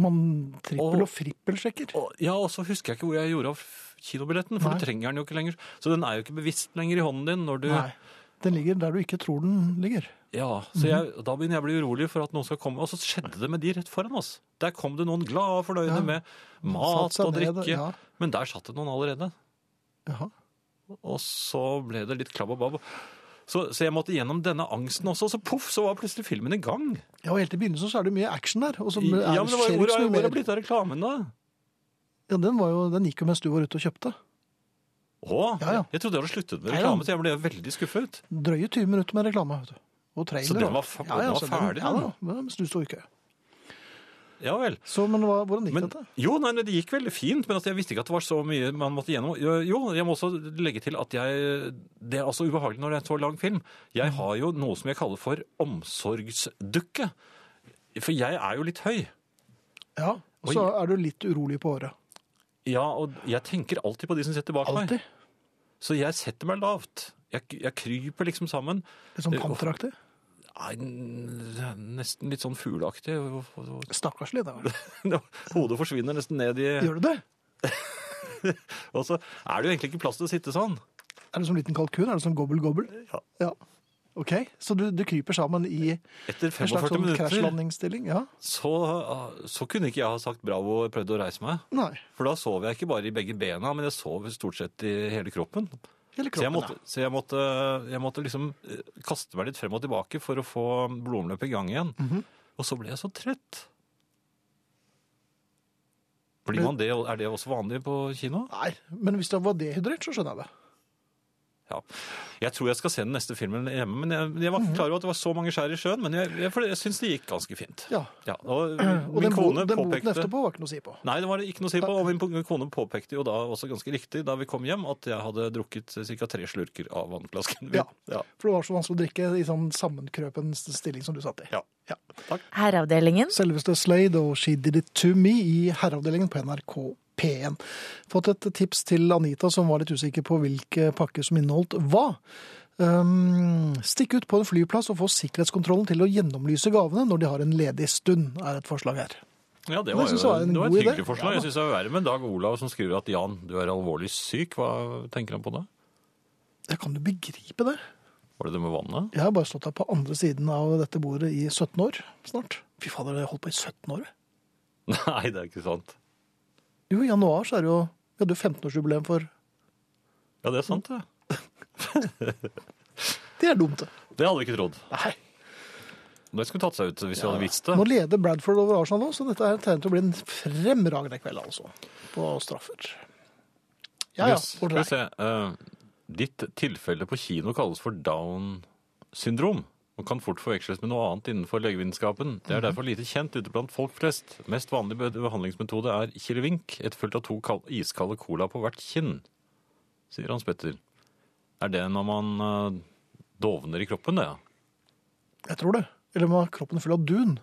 [SPEAKER 2] Man trippel
[SPEAKER 1] Og-
[SPEAKER 2] og frippelsjekker.
[SPEAKER 1] Og, ja, og så husker jeg ikke hvor jeg gjorde av f- kinobilletten, for
[SPEAKER 2] Nei.
[SPEAKER 1] du trenger den jo ikke lenger. Så den er jo ikke bevisst lenger i hånden din når du
[SPEAKER 2] Nei. Den ligger der du ikke tror den ligger.
[SPEAKER 1] Ja, så jeg, da begynner jeg å bli urolig for at noen skal komme. Og så skjedde det med de rett foran oss. Der kom det noen glade og fornøyde
[SPEAKER 2] Ja.
[SPEAKER 1] med mat
[SPEAKER 2] Satt seg
[SPEAKER 1] og
[SPEAKER 2] ned,
[SPEAKER 1] drikke.
[SPEAKER 2] ja.
[SPEAKER 1] Men der satt det noen allerede.
[SPEAKER 2] Jaha.
[SPEAKER 1] Og så ble det litt klabb og babb. Så, så jeg måtte gjennom denne angsten også, og så poff, så var plutselig filmen i gang.
[SPEAKER 2] Ja, og helt i begynnelsen så er det mye action der. Og så
[SPEAKER 1] I,
[SPEAKER 2] er,
[SPEAKER 1] ja, men det var,
[SPEAKER 2] skjer
[SPEAKER 1] Hvor
[SPEAKER 2] ikke
[SPEAKER 1] er
[SPEAKER 2] så mye
[SPEAKER 1] hvor er
[SPEAKER 2] mer.
[SPEAKER 1] blitt av reklamen, da?
[SPEAKER 2] Ja, den, var jo, den gikk jo mens du var ute og kjøpte.
[SPEAKER 1] Å,
[SPEAKER 2] Ja, ja.
[SPEAKER 1] jeg trodde jeg hadde sluttet med
[SPEAKER 2] Nei,
[SPEAKER 1] reklame,
[SPEAKER 2] da.
[SPEAKER 1] så jeg ble veldig skuffet.
[SPEAKER 2] Drøye 20 minutter med reklame. vet du. Og trailer.
[SPEAKER 1] Så den
[SPEAKER 2] og-
[SPEAKER 1] var fa- den var
[SPEAKER 2] så
[SPEAKER 1] ferdig,
[SPEAKER 2] Ja,
[SPEAKER 1] den,
[SPEAKER 2] da, men mens du sto i kø.
[SPEAKER 1] Ja vel.
[SPEAKER 2] Så, men hva, hvordan gikk
[SPEAKER 1] Men,
[SPEAKER 2] dette?
[SPEAKER 1] jo, nei, nei, det gikk veldig fint, men at jeg visste ikke at det var så mye man måtte gjennom. Jo, Jo, jeg må også legge til at jeg Det er altså ubehagelig når det er en så lang film. Jeg har jo noe som jeg kaller for omsorgsdukke. For jeg er jo litt høy.
[SPEAKER 2] Ja, og så er du litt urolig på håret.
[SPEAKER 1] Ja, og jeg tenker alltid på de som sitter bak
[SPEAKER 2] Alltid.
[SPEAKER 1] meg. Så jeg setter meg lavt. Jeg, jeg kryper liksom sammen.
[SPEAKER 2] Litt sånn
[SPEAKER 1] Det-
[SPEAKER 2] panteraktig.
[SPEAKER 1] Nei, nesten litt sånn fugleaktig. (laughs)
[SPEAKER 2] Stakkarslig, det var det.
[SPEAKER 1] Hodet forsvinner nesten ned i
[SPEAKER 2] Gjør du det?
[SPEAKER 1] Og så er det jo egentlig ikke plass til å sitte sånn.
[SPEAKER 2] Er det som liten kalkun? Er det som gobbel-gobbel?
[SPEAKER 1] Ja.
[SPEAKER 2] Ok, så du, du kryper sammen i
[SPEAKER 1] Etter
[SPEAKER 2] en slags
[SPEAKER 1] 45
[SPEAKER 2] sånn
[SPEAKER 1] minutter
[SPEAKER 2] krasjlandingsstilling? Ja.
[SPEAKER 1] så, så kunne ikke jeg ha sagt bravo og prøvd å reise meg.
[SPEAKER 2] Nei.
[SPEAKER 1] For da sov jeg ikke bare i begge bena, men jeg sov stort sett i hele kroppen. så
[SPEAKER 2] Hele
[SPEAKER 1] jeg
[SPEAKER 2] kroppen,
[SPEAKER 1] måtte, så jeg måtte, jeg måtte liksom eh, kaste meg litt frem og tilbake for å få blodomløpet i gang igjen.
[SPEAKER 2] Mhm.
[SPEAKER 1] Og så ble jeg så trett. Blir
[SPEAKER 2] Men-
[SPEAKER 1] man det, og er det også vanlig på kino?
[SPEAKER 2] ja. Nei, men hvis det var dehydrert, så skjønner jeg det.
[SPEAKER 1] Ja. Jeg tror jeg skal se den neste filmen hjemme, men jeg, jeg var
[SPEAKER 2] Mhm.
[SPEAKER 1] ikke klar over at det var så mange skjær i sjøen, men jeg, jeg, for jeg syns det gikk ganske fint.
[SPEAKER 2] Ja.
[SPEAKER 1] Ja, og
[SPEAKER 2] Og
[SPEAKER 1] min
[SPEAKER 2] den, bo-
[SPEAKER 1] kone
[SPEAKER 2] den boten
[SPEAKER 1] påpekte...
[SPEAKER 2] etterpå var ikke noe å si på.
[SPEAKER 1] Nei, det var det ikke noe å si på. Og min kone påpekte jo da også ganske riktig da vi kom hjem, at jeg hadde drukket ca. tre slurker av vannflasken min.
[SPEAKER 2] Ja. For det var så vanskelig å drikke i sånn sammenkrøpen stilling som du satt i.
[SPEAKER 1] Ja.
[SPEAKER 2] Ja.
[SPEAKER 3] Herreavdelingen.
[SPEAKER 2] Selveste Slade og She Did It To Me i herreavdelingen på NRK P1. Fått et tips til Anita som var litt usikker på hvilke pakker som inneholdt hva. Um, stikk ut på en flyplass og få sikkerhetskontrollen til å gjennomlyse gavene når de har en ledig stund, er et forslag her.
[SPEAKER 1] Ja, det
[SPEAKER 2] Men
[SPEAKER 1] var, jo,
[SPEAKER 2] jeg synes det
[SPEAKER 1] det
[SPEAKER 2] var
[SPEAKER 1] var,
[SPEAKER 2] en
[SPEAKER 1] et
[SPEAKER 2] god idé.
[SPEAKER 1] hyggelig forslag.
[SPEAKER 2] Ja,
[SPEAKER 1] jeg synes det var verre med Dag Olav som skriver at Jan, du er alvorlig syk. Hva tenker han på da?
[SPEAKER 2] Jeg kan jo begripe det.
[SPEAKER 1] Var det det med vannet? (laughs)
[SPEAKER 2] Jeg har bare stått her på andre siden av dette bordet i 17 år snart. Fy fader, jeg har holdt på i 17 år. jeg.
[SPEAKER 1] Nei, det er ikke sant.
[SPEAKER 2] Jo, i januar så er det jo Vi hadde jo 15-årsjubileum for
[SPEAKER 1] Ja, det er sant, det.
[SPEAKER 2] Det er dumt, det.
[SPEAKER 1] Det hadde vi ikke trodd.
[SPEAKER 2] Nei.
[SPEAKER 1] Det skulle tatt seg ut hvis vi hadde visst det.
[SPEAKER 2] Nå leder Bradford over Arsenal nå, så dette er tegnet til å bli en fremragende kveld, altså. På straffer. Ja, ja.
[SPEAKER 1] Yes, skal vi
[SPEAKER 2] fortell.
[SPEAKER 1] se. Eh, ditt tilfelle på kino kalles for down syndrom og kan fort forveksles med noe annet innenfor legevitenskapen. Det
[SPEAKER 2] Mhm.
[SPEAKER 1] er derfor lite kjent ute blant folk flest. Mest vanlig be- behandlingsmetode er kilevink, etterfulgt av to kal- iskalde cola på hvert kinn, sier Hans Petter. Er det når man eh, dovner i kroppen, det? ja?
[SPEAKER 2] Jeg tror det. Eller med kroppen full av dun.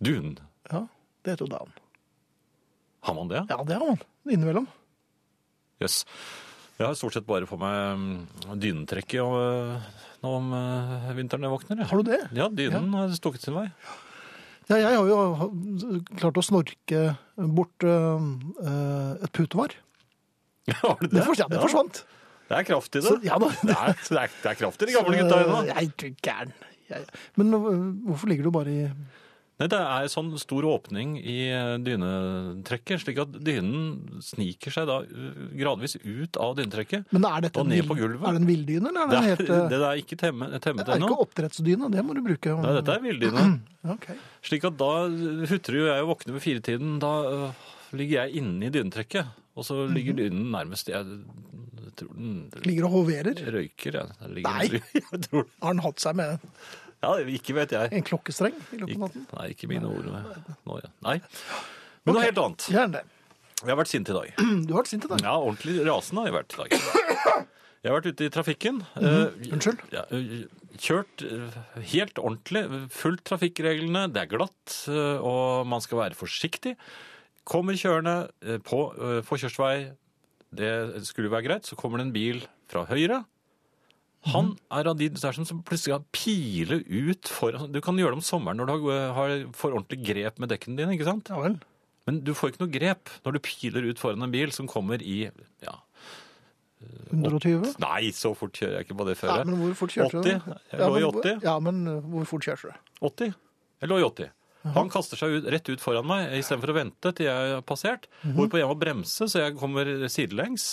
[SPEAKER 1] Dun.
[SPEAKER 2] Ja, det heter jo down.
[SPEAKER 1] Har man det?
[SPEAKER 2] Ja, det har man. Innimellom.
[SPEAKER 1] Jøss. Jeg har stort sett bare på meg mm, dynetrekket og, eh, nå om eh, vinteren jeg våkner. Jeg.
[SPEAKER 2] Har du det?
[SPEAKER 1] Ja, dynen har stukket sin vei.
[SPEAKER 2] Ja, jeg har jo ha- klart å snorke bort øh, øh, et putevar.
[SPEAKER 1] Har du
[SPEAKER 2] Det, forsvant- det
[SPEAKER 1] Ja.
[SPEAKER 2] forsvant.
[SPEAKER 1] Det er kraft i det.
[SPEAKER 2] Så- ja da. eh,
[SPEAKER 1] det, er, det, er, det er kraft i (laughs) de gamle gutta ennå.
[SPEAKER 2] Jeg er ikke gæren. Jeg- Men øh, hvorfor ligger du bare i
[SPEAKER 1] Nei, det er sånn stor åpning i eh, dynetrekket, slik at dynen sniker seg da eh, gradvis ut av dynetrekket.
[SPEAKER 2] Men er dette
[SPEAKER 1] Og
[SPEAKER 2] en
[SPEAKER 1] ned
[SPEAKER 2] vill-
[SPEAKER 1] på gulvet.
[SPEAKER 2] Er det en villdyne, eller er
[SPEAKER 1] Det
[SPEAKER 2] det,
[SPEAKER 1] er,
[SPEAKER 2] helt øh,
[SPEAKER 1] det er ikke temme, eh,
[SPEAKER 2] Det
[SPEAKER 1] temmet
[SPEAKER 2] er
[SPEAKER 1] ennå.
[SPEAKER 2] ikke oppdrettsdyne, det må du bruke.
[SPEAKER 1] Nei, dette er villdyne. (clears throat)
[SPEAKER 2] Ok.
[SPEAKER 1] Slik at da hutrer jo jeg og våkner ved firetiden. Da øh, ligger jeg inne i dynetrekket, og så
[SPEAKER 2] Mhm.
[SPEAKER 1] ligger dynen nærmest Jeg tror den
[SPEAKER 2] Ligger og hoverer.
[SPEAKER 1] røyker, jeg. Den ligger-
[SPEAKER 2] Nei.
[SPEAKER 1] (laughs) Jeg tror,
[SPEAKER 2] Har han hatt seg med
[SPEAKER 1] ja, ikke vet jeg.
[SPEAKER 2] en klokkestreng i løpet av natten?
[SPEAKER 1] Ikke, nei, ikke mine ord nå, ja. Nei. Men noe
[SPEAKER 2] Ok.
[SPEAKER 1] helt annet.
[SPEAKER 2] Gjerne det.
[SPEAKER 1] Jeg har vært sint i dag.
[SPEAKER 2] (clears throat) Du har vært sint i dag.
[SPEAKER 1] Ja, ordentlig rasende har jeg vært i dag. Jeg har vært ute i trafikken. eh,
[SPEAKER 2] Unnskyld.
[SPEAKER 1] ja, eh, kjørt eh, helt ordentlig, fulgt trafikkreglene, det er glatt, eh, og man skal være forsiktig. Kommer kjørende eh, på, eh, på kjørsvei, det skulle jo være greit, så kommer det en bil fra høyre. Han er av de der som som plutselig kan pile ut foran. Du kan gjøre det om sommeren når du har, har for ordentlig grep med dekkene dine, ikke sant?
[SPEAKER 2] Ja vel.
[SPEAKER 1] Men du får ikke noe grep når du piler ut foran en bil som kommer i, ja,
[SPEAKER 2] 120?
[SPEAKER 1] nei, så fort kjører jeg ikke på det
[SPEAKER 2] Ja,
[SPEAKER 1] føret.
[SPEAKER 2] men hvor fort kjørte du?
[SPEAKER 1] 80? Jeg lå i
[SPEAKER 2] men hvor-
[SPEAKER 1] 80.
[SPEAKER 2] Ja, men øh, hvor fort kjørte du?
[SPEAKER 1] 80. Jeg lå i 80. Han kaster seg ut, rett ut foran meg istedenfor å vente til jeg har passert. Hvorpå jeg må bremse, så jeg kommer sidelengs.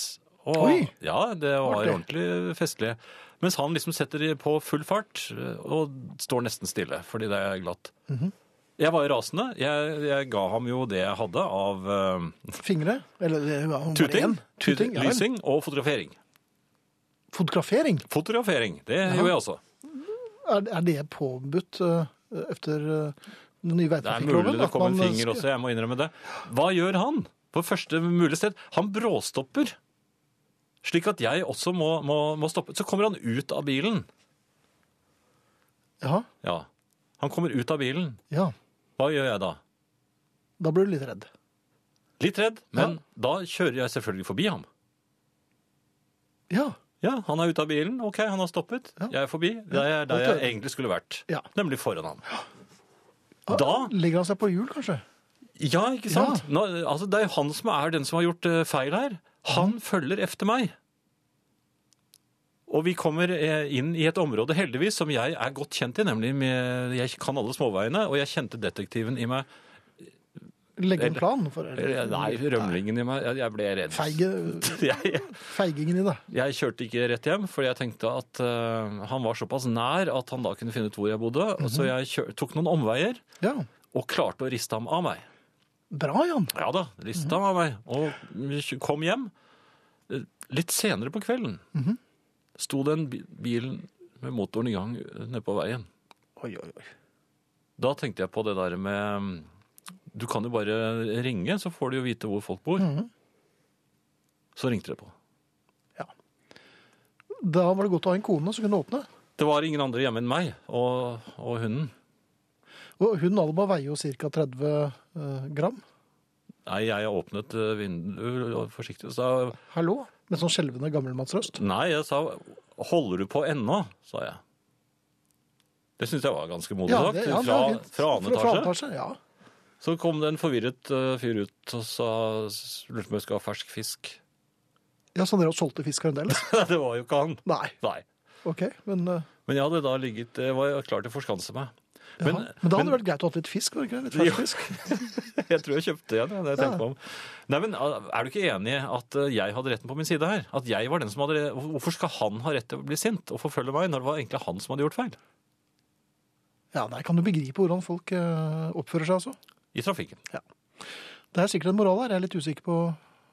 [SPEAKER 1] Og,
[SPEAKER 2] Oi!
[SPEAKER 1] Ja, det var
[SPEAKER 2] Artig.
[SPEAKER 1] ordentlig festlig. Mens han liksom setter i på full fart og står nesten stille, fordi det er glatt.
[SPEAKER 2] Mhm.
[SPEAKER 1] Jeg var jo rasende. Jeg, jeg ga ham jo det jeg hadde av eh,
[SPEAKER 2] Fingre? Eller det var bare
[SPEAKER 1] tuting,
[SPEAKER 2] én. Tuting, ja vel.
[SPEAKER 1] lysing og fotografering.
[SPEAKER 2] Fotografering,
[SPEAKER 1] Fotografering, det gjorde jeg også.
[SPEAKER 2] er, er det påbudt øh, etter øh, den nye
[SPEAKER 1] Det er mulig
[SPEAKER 2] veitrafikkloven?
[SPEAKER 1] det
[SPEAKER 2] at
[SPEAKER 1] kom en
[SPEAKER 2] man uh,
[SPEAKER 1] finger
[SPEAKER 2] skal-
[SPEAKER 1] også, jeg må innrømme det. Hva gjør han? På første mulige sted, han bråstopper. Slik at jeg også må, må, må stoppe. Så kommer han ut av bilen.
[SPEAKER 2] Ja,
[SPEAKER 1] Ja, han kommer ut av bilen.
[SPEAKER 2] ja.
[SPEAKER 1] Hva gjør jeg da?
[SPEAKER 2] Da ble du litt redd.
[SPEAKER 1] Litt redd, men da kjører jeg selvfølgelig forbi ham.
[SPEAKER 2] Ja.
[SPEAKER 1] Ja, han er ute av bilen. Ok, han har stoppet.
[SPEAKER 2] Ja.
[SPEAKER 1] Jeg er forbi. Det er der
[SPEAKER 2] godt
[SPEAKER 1] jeg
[SPEAKER 2] gjort.
[SPEAKER 1] egentlig skulle vært.
[SPEAKER 2] Ja. Ah.
[SPEAKER 1] Nemlig foran ham. Da
[SPEAKER 2] Legger han seg på hjul, kanskje?
[SPEAKER 1] Ja, ikke sant? Nå, altså, det er jo han som er den som har gjort eh, feil her. Han følger efter meg. Og vi kommer eh, inn i et område, heldigvis, som jeg er godt kjent i, nemlig med, jeg kan alle småveiene, og jeg kjente detektiven i meg.
[SPEAKER 2] Legge en plan for
[SPEAKER 1] Eller, eh, Nei,
[SPEAKER 2] Mm.
[SPEAKER 1] rømlingen i meg. Jeg- Jeg ble redd. (laughs)
[SPEAKER 2] Feige,
[SPEAKER 1] Jeg,
[SPEAKER 2] feigingen i det.
[SPEAKER 1] jeg kjørte ikke rett hjem, fordi jeg tenkte at eh, han var såpass nær at han da kunne finne ut hvor jeg bodde. og Så jeg kjør, tok noen omveier
[SPEAKER 2] Ja.
[SPEAKER 1] og klarte å riste ham av meg.
[SPEAKER 2] Bra, Jan.
[SPEAKER 1] Ja da, lista var meg. Og kom hjem. Eh, Litt senere på kvelden sto den bi- bilen med motoren i gang eh, nede på veien.
[SPEAKER 2] Oi, oi, oi.
[SPEAKER 1] Da tenkte jeg på det der med mm, Du kan jo bare ringe, så får du jo vite hvor folk bor. Så ringte det på.
[SPEAKER 2] Da var det godt å ha en kone som kunne åpne.
[SPEAKER 1] Det var ingen andre hjemme enn meg og, og hunden.
[SPEAKER 2] Og hun Alba veier jo ca. 30 eh, gram.
[SPEAKER 1] Nei, jeg åpnet eh, vinduet forsiktig og sa
[SPEAKER 2] Hallo? Med sånn skjelvende gammel Mats Røst.
[SPEAKER 1] Nei, jeg sa 'holder du på ennå', sa jeg. Det syns jeg var ganske modig
[SPEAKER 2] Ja,
[SPEAKER 1] sagt.
[SPEAKER 2] det- ja, det
[SPEAKER 1] fra,
[SPEAKER 2] er fint.
[SPEAKER 1] fra annen etasje.
[SPEAKER 2] Ja.
[SPEAKER 1] Så kom det en forvirret eh, fyr ut og sa, s- lurte på om jeg skulle ha fersk fisk. (laughs)
[SPEAKER 2] ja, så dere solgte fisk fremdeles?
[SPEAKER 1] det var jo ikke han.
[SPEAKER 2] altså? Nei.
[SPEAKER 1] Nei.
[SPEAKER 2] Ok, men, eh,
[SPEAKER 1] Men jeg hadde da ligget, det var jeg klar til å forskanse meg.
[SPEAKER 2] ja.
[SPEAKER 1] Men,
[SPEAKER 2] men, da hadde det vært greit å ha litt fisk? var det ikke det? Litt fersk fisk?
[SPEAKER 1] (laughs) jeg tror jeg kjøpte igjen, det jeg tenkte meg om. Nei, men er du ikke enig i at eh, jeg hadde retten på min side her? At jeg var den som hadde, hvorfor skal han ha rett til å bli sint og forfølge meg, når det var egentlig han som hadde gjort feil?
[SPEAKER 2] Ja, nei, Kan du begripe hvordan folk eh, oppfører seg, altså?
[SPEAKER 1] I trafikken.
[SPEAKER 2] Det er sikkert en moral her. Jeg er litt usikker på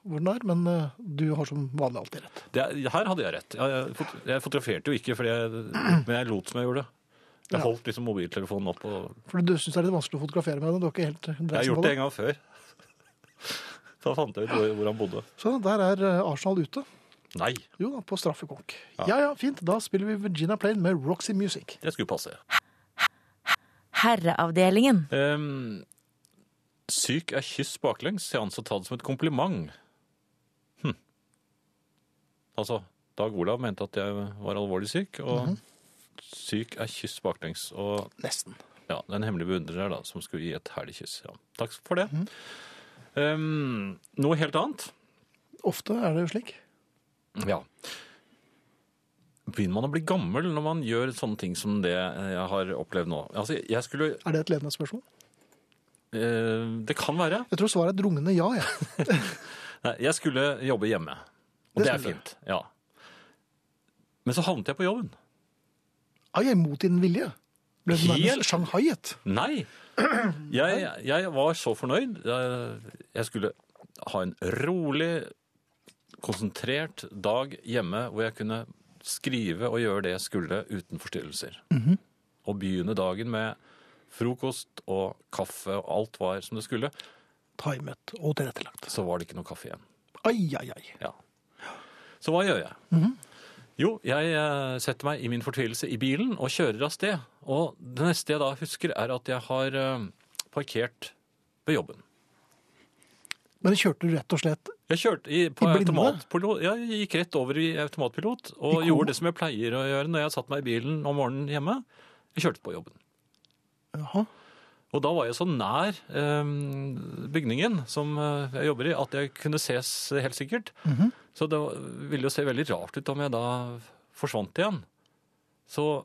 [SPEAKER 2] hvor den er, men eh, du har som vanlig alltid rett.
[SPEAKER 1] Det, er- her hadde jeg rett. Jeg, jeg, fot- jeg fotograferte jo ikke, fordi jeg, men jeg lot som jeg gjorde. Jeg
[SPEAKER 2] Ja.
[SPEAKER 1] holdt liksom mobiltelefonen opp. og
[SPEAKER 2] For du syns det er litt vanskelig å fotografere med det? Du har ikke helt
[SPEAKER 1] Jeg har
[SPEAKER 2] dreisen
[SPEAKER 1] gjort
[SPEAKER 2] på
[SPEAKER 1] det en gang før. (laughs) Da fant jeg ut hvor, hvor han bodde.
[SPEAKER 2] Så der er eh, Arsenal ute.
[SPEAKER 1] Nei,
[SPEAKER 2] Jo da, på straffekonk.
[SPEAKER 1] Ja.
[SPEAKER 2] Ja ja, fint. Da spiller vi Virginia Plain med Roxy Music.
[SPEAKER 1] det skulle passe.
[SPEAKER 3] Herreavdelingen.
[SPEAKER 1] Ehm, syk er kyss baklengs. Jeg anså ta det som et kompliment. Hm. Altså, Dag Olav mente at jeg var alvorlig syk, og syk er kyss baklengs. Og
[SPEAKER 2] Nesten.
[SPEAKER 1] ja, det er en hemmelig beundrer her da, som skulle gi et herlig kyss. Ja. Takk for det.
[SPEAKER 2] Mhm.
[SPEAKER 1] Ehm, noe helt annet.
[SPEAKER 2] Ofte er det jo slik.
[SPEAKER 1] Ja. Begynner man å bli gammel når man gjør sånne ting som det eh, jeg har opplevd nå? Altså, jeg skulle
[SPEAKER 2] Er det et ledende spørsmål?
[SPEAKER 1] eh, Det kan være.
[SPEAKER 2] Jeg tror svaret er et rungende ja. jeg.
[SPEAKER 1] Nei, jeg skulle jobbe hjemme. Og
[SPEAKER 2] Det
[SPEAKER 1] det, er
[SPEAKER 2] skulle du.
[SPEAKER 1] fint. Ja. Men så havnet jeg på jobben.
[SPEAKER 2] Ai, ai, mot din vilje. Ble du
[SPEAKER 1] Helt-
[SPEAKER 2] nærmest shanghaiet?
[SPEAKER 1] Nei! Jeg, jeg var så fornøyd. Jeg, jeg skulle ha en rolig, konsentrert dag hjemme hvor jeg kunne skrive og gjøre det jeg skulle uten forstyrrelser. Og begynne dagen med frokost og kaffe, og alt var som det skulle.
[SPEAKER 2] Timet og tilrettelagt.
[SPEAKER 1] Så var det ikke noe kaffe igjen.
[SPEAKER 2] Ai, ai, ai.
[SPEAKER 1] Ja. Så hva gjør jeg? Jo, jeg eh, setter meg i min fortvilelse i bilen og kjører av sted. Og det neste jeg da husker, er at jeg har eh, parkert ved jobben.
[SPEAKER 2] Men kjørte du rett og slett
[SPEAKER 1] Jeg kjørte i, på
[SPEAKER 2] I blinde?
[SPEAKER 1] automatpilot. Ja, Jeg gikk rett over i automatpilot og
[SPEAKER 2] I koma?
[SPEAKER 1] gjorde det som jeg pleier å gjøre når jeg satt meg i bilen om morgenen hjemme. Jeg kjørte på jobben.
[SPEAKER 2] Jaha.
[SPEAKER 1] Og da var jeg så nær eh, bygningen som eh, jeg jobber i, at jeg kunne ses eh, helt sikkert.
[SPEAKER 2] Mhm.
[SPEAKER 1] Så det var- ville jo se veldig rart ut om jeg da forsvant igjen. Så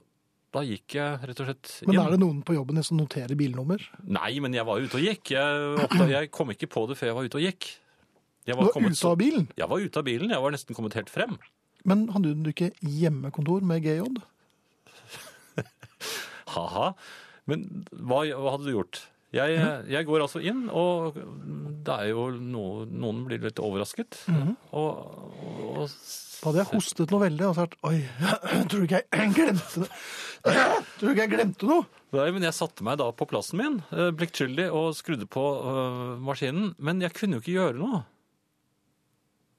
[SPEAKER 1] da gikk jeg rett og slett inn.
[SPEAKER 2] Men er det noen på jobben din som noterer bilnummer?
[SPEAKER 1] Nei, men jeg var ute og gikk. Jeg, oppdag- jeg kom ikke på det før jeg var ute og gikk. Jeg
[SPEAKER 2] Du
[SPEAKER 1] var,
[SPEAKER 2] var
[SPEAKER 1] kommet,
[SPEAKER 2] ute av
[SPEAKER 1] så,
[SPEAKER 2] bilen,
[SPEAKER 1] jeg var ute av bilen. Jeg var nesten kommet helt frem.
[SPEAKER 2] men hadde du ikke hjemmekontor med GJ?
[SPEAKER 1] Haha. Men hva, hva hadde du gjort? Jeg, jeg går altså inn, og det er jo noe, noen blir litt overrasket.
[SPEAKER 2] Mhm.
[SPEAKER 1] og, og, og s-
[SPEAKER 2] Da hadde jeg hostet noe veldig og sagt Oi, (clears throat) tror du ikke jeg (clears throat) glemte det? Tror du ikke jeg glemte noe?
[SPEAKER 1] Nei, men jeg satte meg da på plassen min, eh, pliktskyldig, og skrudde på eh, maskinen. Men jeg kunne jo ikke gjøre noe.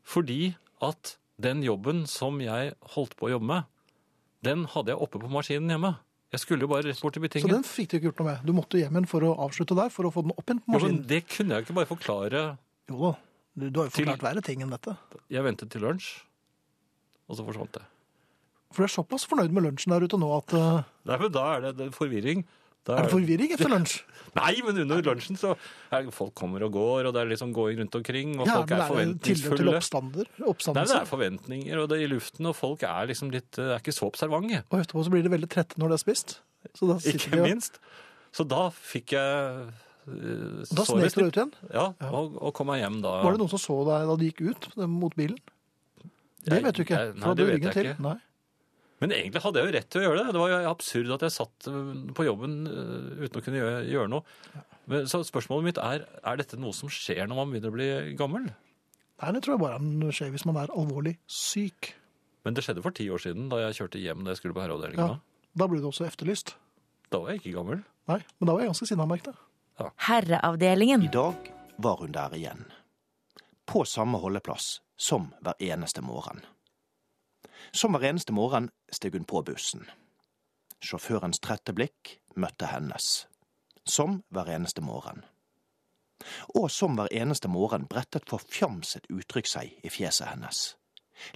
[SPEAKER 1] Fordi at den jobben som jeg holdt på å jobbe med, den hadde jeg oppe på maskinen hjemme. Jeg skulle jo bare rett bort til
[SPEAKER 2] Så
[SPEAKER 1] butikken.
[SPEAKER 2] den fikk du ikke gjort noe med. Du måtte hjem igjen for å avslutte der, for å få den opp igjen på
[SPEAKER 1] Jo, men
[SPEAKER 2] maskinen.
[SPEAKER 1] det kunne jeg ikke bare forklare
[SPEAKER 2] Jo da, du, du har jo
[SPEAKER 1] Til-
[SPEAKER 2] forklart verre ting enn dette.
[SPEAKER 1] Jeg ventet til lunsj, og så forsvant det.
[SPEAKER 2] For du er såpass fornøyd med lunsjen der ute nå at eh,
[SPEAKER 1] Nei, men da er det, det er forvirring. Da
[SPEAKER 2] Er det forvirring etter lunsj?
[SPEAKER 1] Nei, men under lunsjen så er det, folk kommer og går, og det er liksom gåing rundt omkring, og folk
[SPEAKER 2] men
[SPEAKER 1] er
[SPEAKER 2] tilløp til
[SPEAKER 1] forventningsfulle.
[SPEAKER 2] oppstander?
[SPEAKER 1] Nei, det er
[SPEAKER 2] Oppstandelse?
[SPEAKER 1] forventninger, og det er i luften, og folk er liksom litt, eh, er ikke så observante,
[SPEAKER 2] Og etterpå så blir de veldig trette når de har spist. Så da sitter
[SPEAKER 1] ikke
[SPEAKER 2] de og-
[SPEAKER 1] minst. Så da fikk jeg... eh,
[SPEAKER 2] Da
[SPEAKER 1] såret
[SPEAKER 2] snek du
[SPEAKER 1] litt.
[SPEAKER 2] deg ut igjen.
[SPEAKER 1] Ja, og, og kom meg hjem da.
[SPEAKER 2] Var det noen som så deg da du gikk ut mot bilen? Det
[SPEAKER 1] Jeg-
[SPEAKER 2] vet du ikke.
[SPEAKER 1] jeg- Nei,
[SPEAKER 2] for da
[SPEAKER 1] det
[SPEAKER 2] hadde du
[SPEAKER 1] vet
[SPEAKER 2] ryggen
[SPEAKER 1] jeg
[SPEAKER 2] til.
[SPEAKER 1] ikke.
[SPEAKER 2] Nei.
[SPEAKER 1] Men egentlig hadde jeg jo rett til å gjøre det. Det var jo absurd at jeg satt øh, på jobben øh, uten å kunne gjøre, gjøre noe. Men, så spørsmålet mitt er er dette noe som skjer når man begynner å bli gammel.
[SPEAKER 2] Nei, det tror jeg bare han skjer hvis man er alvorlig syk.
[SPEAKER 1] Men det skjedde for ti år siden, da jeg kjørte hjem da jeg skulle på
[SPEAKER 2] Ja.
[SPEAKER 1] herreavdelinga.
[SPEAKER 2] Da ble du også efterlyst.
[SPEAKER 1] Da var jeg ikke gammel.
[SPEAKER 2] Nei, men da var jeg ganske sinna, merket jeg.
[SPEAKER 3] Herreavdelingen.
[SPEAKER 4] I dag var hun der igjen. På samme holdeplass som hver eneste morgen. Som hver eneste morgen steg hun på bussen. Sjåførens trette blikk møtte hennes. Som hver eneste morgen. Og som hver eneste morgen brettet forfjamset uttrykk seg i fjeset hennes.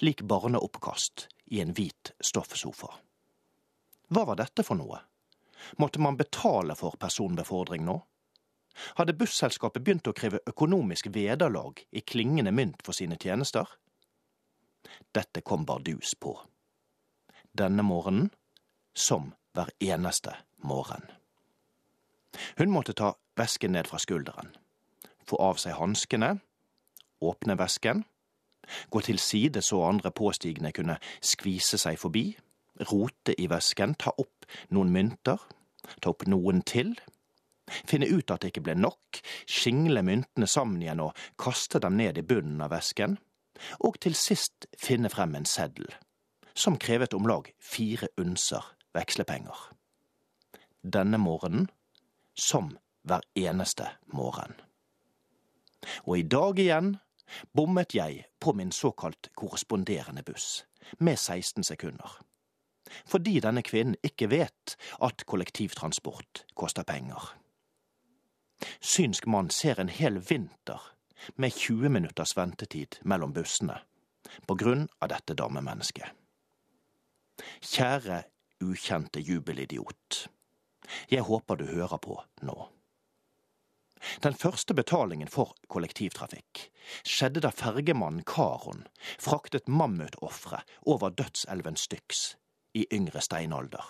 [SPEAKER 4] Lik barneoppkast i en hvit stoffsofa. Hva var dette for noe? Måtte man betale for personbefordring nå? Hadde busselskapet begynt å kreve økonomisk vederlag i klingende mynt for sine tjenester? Dette kom bardus på. Denne morgenen som hver eneste morgen. Hun måtte ta vesken ned fra skulderen, få av seg hanskene, åpne vesken, gå til side så andre påstigende kunne skvise seg forbi, rote i vesken, ta opp noen mynter, ta opp noen til, finne ut at det ikke ble nok, skingle myntene sammen igjen og kaste dem ned i bunnen av vesken, og til sist finne frem en seddel, som krevet om lag fire unser vekslepenger. Denne morgenen, som hver eneste morgen. Og i dag igjen bommet jeg på min såkalt korresponderende buss, med 16 sekunder fordi denne kvinnen ikke vet at kollektivtransport koster penger. Synsk mann ser en hel vinter med 20 minutters ventetid mellom bussene på grunn av dette damemennesket. Kjære ukjente jubelidiot. Jeg håper du hører på nå. Den første betalingen for kollektivtrafikk skjedde da fergemannen Karon fraktet mammutofre over dødselven Styx i yngre steinalder.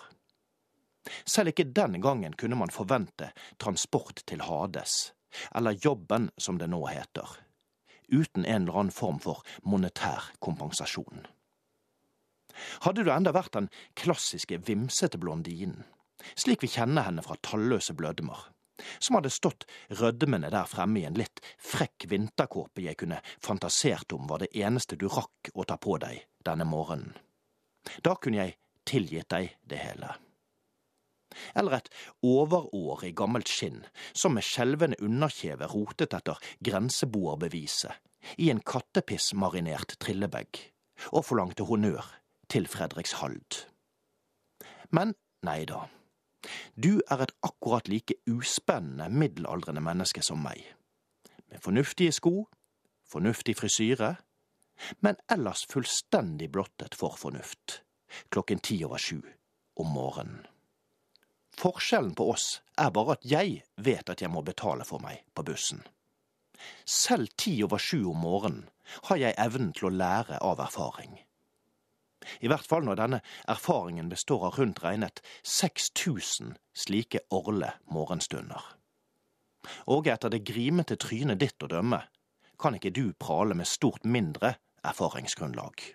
[SPEAKER 4] Selv ikke den gangen kunne man forvente transport til Hades, eller jobben som det nå heter, uten en eller annen form for monetær kompensasjon. Hadde du enda vært den klassiske vimsete blondinen, slik vi kjenner henne fra talløse blødmer, som hadde stått rødmende der fremme i en litt frekk vinterkåpe jeg kunne fantasert om var det eneste du rakk å ta på deg denne morgenen, da kunne jeg tilgitt deg det hele. Eller et overår i gammelt skinn, som med skjelvende underkjeve rotet etter grenseboerbeviset i en kattepissmarinert trillebag, og forlangte honnør til Fredrikshald. Men nei da. Du er et akkurat like uspennende middelaldrende menneske som meg. Med fornuftige sko, fornuftig frisyre, men ellers fullstendig blottet for fornuft klokken ti over sju om morgenen. Forskjellen på oss er bare at jeg vet at jeg må betale for meg på bussen. Selv ti over sju om morgenen har jeg evnen til å lære av erfaring. I hvert fall når denne erfaringen består av rundt regnet 6000 slike orle morgenstunder. Og etter det grimete trynet ditt å dømme, kan ikke du prale med stort mindre erfaringsgrunnlag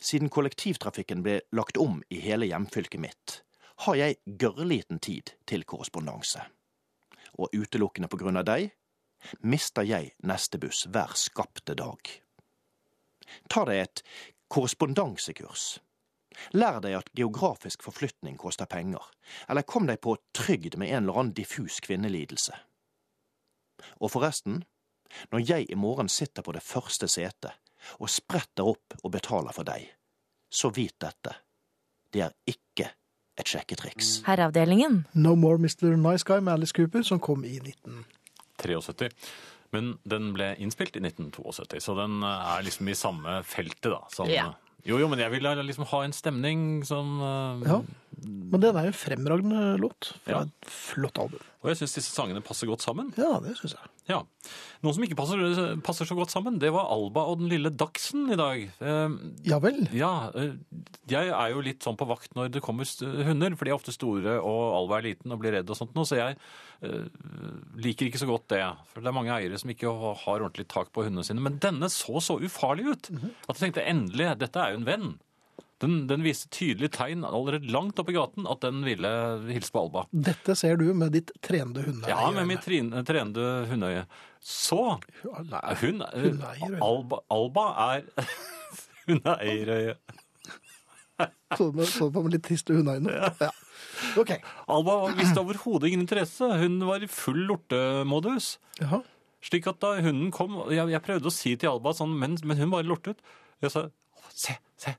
[SPEAKER 4] siden kollektivtrafikken ble lagt om i hele hjemfylket mitt, har jeg gørrliten tid til korrespondanse. Og utelukkende på grunn av deg mister jeg neste buss hver skapte dag. Ta deg et korrespondansekurs. Lær deg at geografisk forflytning koster penger, eller kom deg på trygd med en eller annen diffus kvinnelidelse. Og forresten, når jeg i morgen sitter på det første setet, og spretter opp og betaler for deg. Så vit dette, det er ikke et sjekketriks.
[SPEAKER 3] Herreavdelingen.
[SPEAKER 2] No More Mr. Nice Guy med Alice Cooper, som kom i 19...
[SPEAKER 1] 73. Men den ble innspilt i 1972, så den er liksom i samme feltet, da. Som,
[SPEAKER 3] Ja.
[SPEAKER 1] Jo, jo, men jeg ville liksom ha en stemning som eh,
[SPEAKER 2] Ja. Men den er jo en fremragende låt fra
[SPEAKER 1] Ja.
[SPEAKER 2] et flott album.
[SPEAKER 1] Og jeg syns disse sangene passer godt sammen.
[SPEAKER 2] Ja, det syns jeg.
[SPEAKER 1] Ja. Noen som ikke passer, passer så godt sammen, det var Alba og den lille Dagsen i dag. Eh,
[SPEAKER 2] Ja vel.
[SPEAKER 1] Ja, eh, jeg er jo litt sånn på vakt når det kommer st- hunder, for de er ofte store, og Alva er liten og blir redd og sånt noe, så jeg eh, liker ikke så godt det. For det er mange eiere som ikke ha- har ordentlig tak på hundene sine. Men denne så så ufarlig ut at jeg tenkte endelig, dette er jo en venn. Den, den viste tydelige tegn allerede langt oppe i gaten at den ville hilse på Alba.
[SPEAKER 2] Dette ser du med ditt trenede hundeøye.
[SPEAKER 1] Ja, med mitt trin- trenede hundeøye. Så
[SPEAKER 2] Nei, (laughs)
[SPEAKER 1] hun,
[SPEAKER 2] Hundeeier, ja.
[SPEAKER 1] Alba, Alba er (laughs) hundeeierøye.
[SPEAKER 2] Sånn med, sånn med litt triste hundeøyne. Ja. OK.
[SPEAKER 1] Alba viste overhodet ingen interesse. Hun var i full lortemodus.
[SPEAKER 2] Jaha.
[SPEAKER 1] Slik at da hunden kom Jeg, jeg prøvde å si til Alba sånn, men, men hun bare lortet. Jeg sa se, se.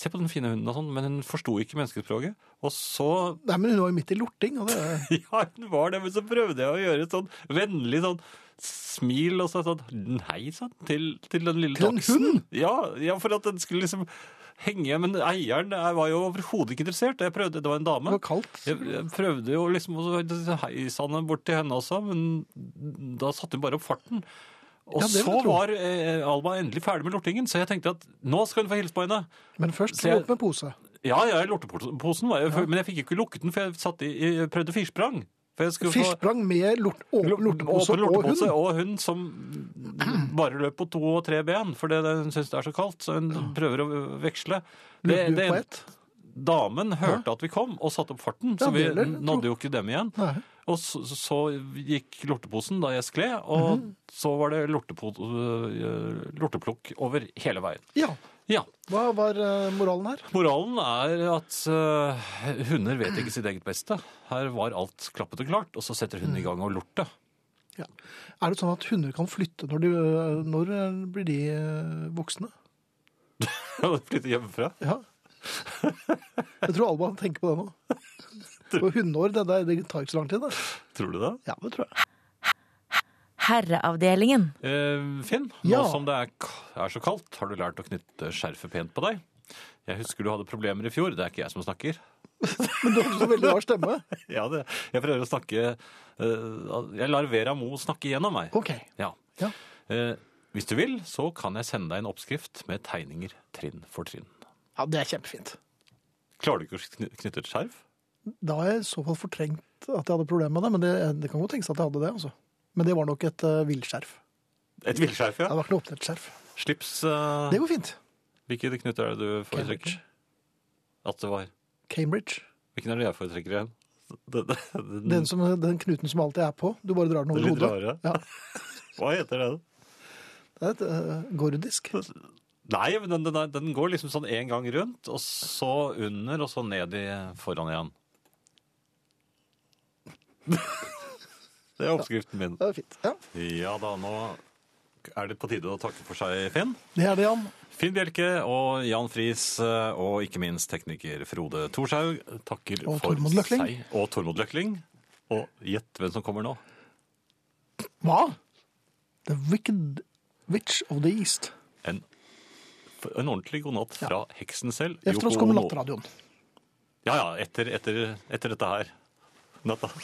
[SPEAKER 1] Se på den fine hunden og sånn, men hun forsto ikke menneskespråket. Og så (laughs)
[SPEAKER 2] Nei, men hun var jo midt i lorting, og det
[SPEAKER 1] Ja, hun var det, men så prøvde jeg å gjøre et sånn vennlig sånn smil og så sånn Nei, sånn, til, til den lille
[SPEAKER 2] Til en
[SPEAKER 1] dachsen.
[SPEAKER 2] hund?
[SPEAKER 1] Ja, ja, for at den skulle liksom henge. Men eieren eh, var jo overhodet ikke interessert. Jeg prøvde, det var en dame.
[SPEAKER 2] var kaldt.
[SPEAKER 1] Jeg, jeg prøvde jo liksom å heise han bort til henne også, men da satte hun bare opp farten. Og
[SPEAKER 2] Ja, det vil jeg
[SPEAKER 1] så
[SPEAKER 2] tro.
[SPEAKER 1] var eh, Alba endelig ferdig med lortingen, så jeg tenkte at nå skal hun få hilse på henne.
[SPEAKER 2] Men først
[SPEAKER 1] Så
[SPEAKER 2] så
[SPEAKER 1] jeg-
[SPEAKER 2] opp med pose.
[SPEAKER 1] Ja, ja, lorteposen var jeg, men jeg fikk jo ikke lukket den, for jeg satt i, jeg prøvde firsprang. For jeg skulle få-
[SPEAKER 2] Firsprang med lort, åpen lortepose
[SPEAKER 1] Åpen
[SPEAKER 2] og
[SPEAKER 1] lortepose
[SPEAKER 2] hund.
[SPEAKER 1] og hund som bare løp på to og tre ben, fordi hun syns det er så kaldt, så hun prøver å veksle.
[SPEAKER 2] Lurte du på ett?
[SPEAKER 1] Damen hørte at vi kom og satte opp farten,
[SPEAKER 2] Ja,
[SPEAKER 1] så vi
[SPEAKER 2] det gjelder.
[SPEAKER 1] nådde jo ikke dem igjen.
[SPEAKER 2] Nei.
[SPEAKER 1] Og så, så gikk lorteposen da jeg skled, E, og så var det lortepo, øh, lorteplukk over hele veien.
[SPEAKER 2] Ja.
[SPEAKER 1] Ja.
[SPEAKER 2] Hva var eh, moralen her?
[SPEAKER 1] Moralen er at øh, hunder vet ikke sitt eget beste. Her var alt klappet og klart, og så setter hunden i gang og (laughs) lorte.
[SPEAKER 2] Ja. Er det sånn at hunder kan flytte når, de, eh, når eh, blir de eh, voksne?
[SPEAKER 1] Og Flytte hjemmefra.
[SPEAKER 2] Ja. (laughs) Jeg tror Alba tenker på det (laughs) nå. For hundeår, det, der, det tar ikke så lang tid, det.
[SPEAKER 1] Tror du det?
[SPEAKER 2] Ja, det tror jeg.
[SPEAKER 3] Herreavdelingen.
[SPEAKER 1] Eh, Finn,
[SPEAKER 2] Ja.
[SPEAKER 1] nå som det er, k- er så kaldt, har du lært å knytte skjerfet pent på deg? Jeg husker du hadde problemer i fjor. Det er ikke jeg som snakker.
[SPEAKER 2] Men du har også veldig rar stemme.
[SPEAKER 1] Ja, det, jeg prøver å snakke eh, Jeg lar Vera Mo snakke gjennom meg.
[SPEAKER 2] (laughs) OK.
[SPEAKER 1] Ja.
[SPEAKER 2] Ja.
[SPEAKER 1] Eh, hvis du vil, så kan jeg sende deg en oppskrift med tegninger trinn for trinn.
[SPEAKER 2] Ja, det er kjempefint.
[SPEAKER 1] Klarer du ikke å kny- knytte et skjerf?
[SPEAKER 2] Da har jeg i så fall fortrengt at jeg hadde problemer med det, men det, det kan godt tenkes at jeg hadde det. altså. Men det var nok et uh, villskjerf.
[SPEAKER 1] Et villskjerf,
[SPEAKER 2] Det
[SPEAKER 1] ja.
[SPEAKER 2] var ikke noe oppdelt skjerf.
[SPEAKER 1] Slips. eh,
[SPEAKER 2] Det går fint.
[SPEAKER 1] hvilke knytter er det du foretrekker?
[SPEAKER 2] Cambridge.
[SPEAKER 1] At det var.
[SPEAKER 2] Cambridge.
[SPEAKER 1] Hvilken er det jeg foretrekker igjen? (laughs) Den, den,
[SPEAKER 2] Den, som, den knuten som alltid Mm. er på. Du bare drar den over
[SPEAKER 1] Den litt
[SPEAKER 2] hodet. Ja,
[SPEAKER 1] Hva heter den?
[SPEAKER 2] det er et eh, (laughs) gordisk.
[SPEAKER 1] Nei, men den, den, er, den går liksom sånn en gang rundt, og så under, og så ned i foran igjen. (laughs) Det er oppskriften min.
[SPEAKER 2] Det er fint. Ja.
[SPEAKER 1] Ja da, nå er det på tide å takke for seg, Finn.
[SPEAKER 2] Det er det, Jan.
[SPEAKER 1] Finn Bjelke og Jan Friis, eh, og ikke minst tekniker Frode Thorshaug, takker
[SPEAKER 2] Og
[SPEAKER 1] for
[SPEAKER 2] Tormod Løkling.
[SPEAKER 1] seg. Og Tormod Løkling. Og gjett hvem som kommer nå.
[SPEAKER 2] Hva? The Wicked Witch of the East.
[SPEAKER 1] En, en ordentlig god natt fra heksen selv.
[SPEAKER 2] Efter oss
[SPEAKER 1] Yoko
[SPEAKER 2] kommer
[SPEAKER 1] Ono.
[SPEAKER 2] Natteradioen.
[SPEAKER 1] Ja, ja, etter, etter, etter dette her. Natta.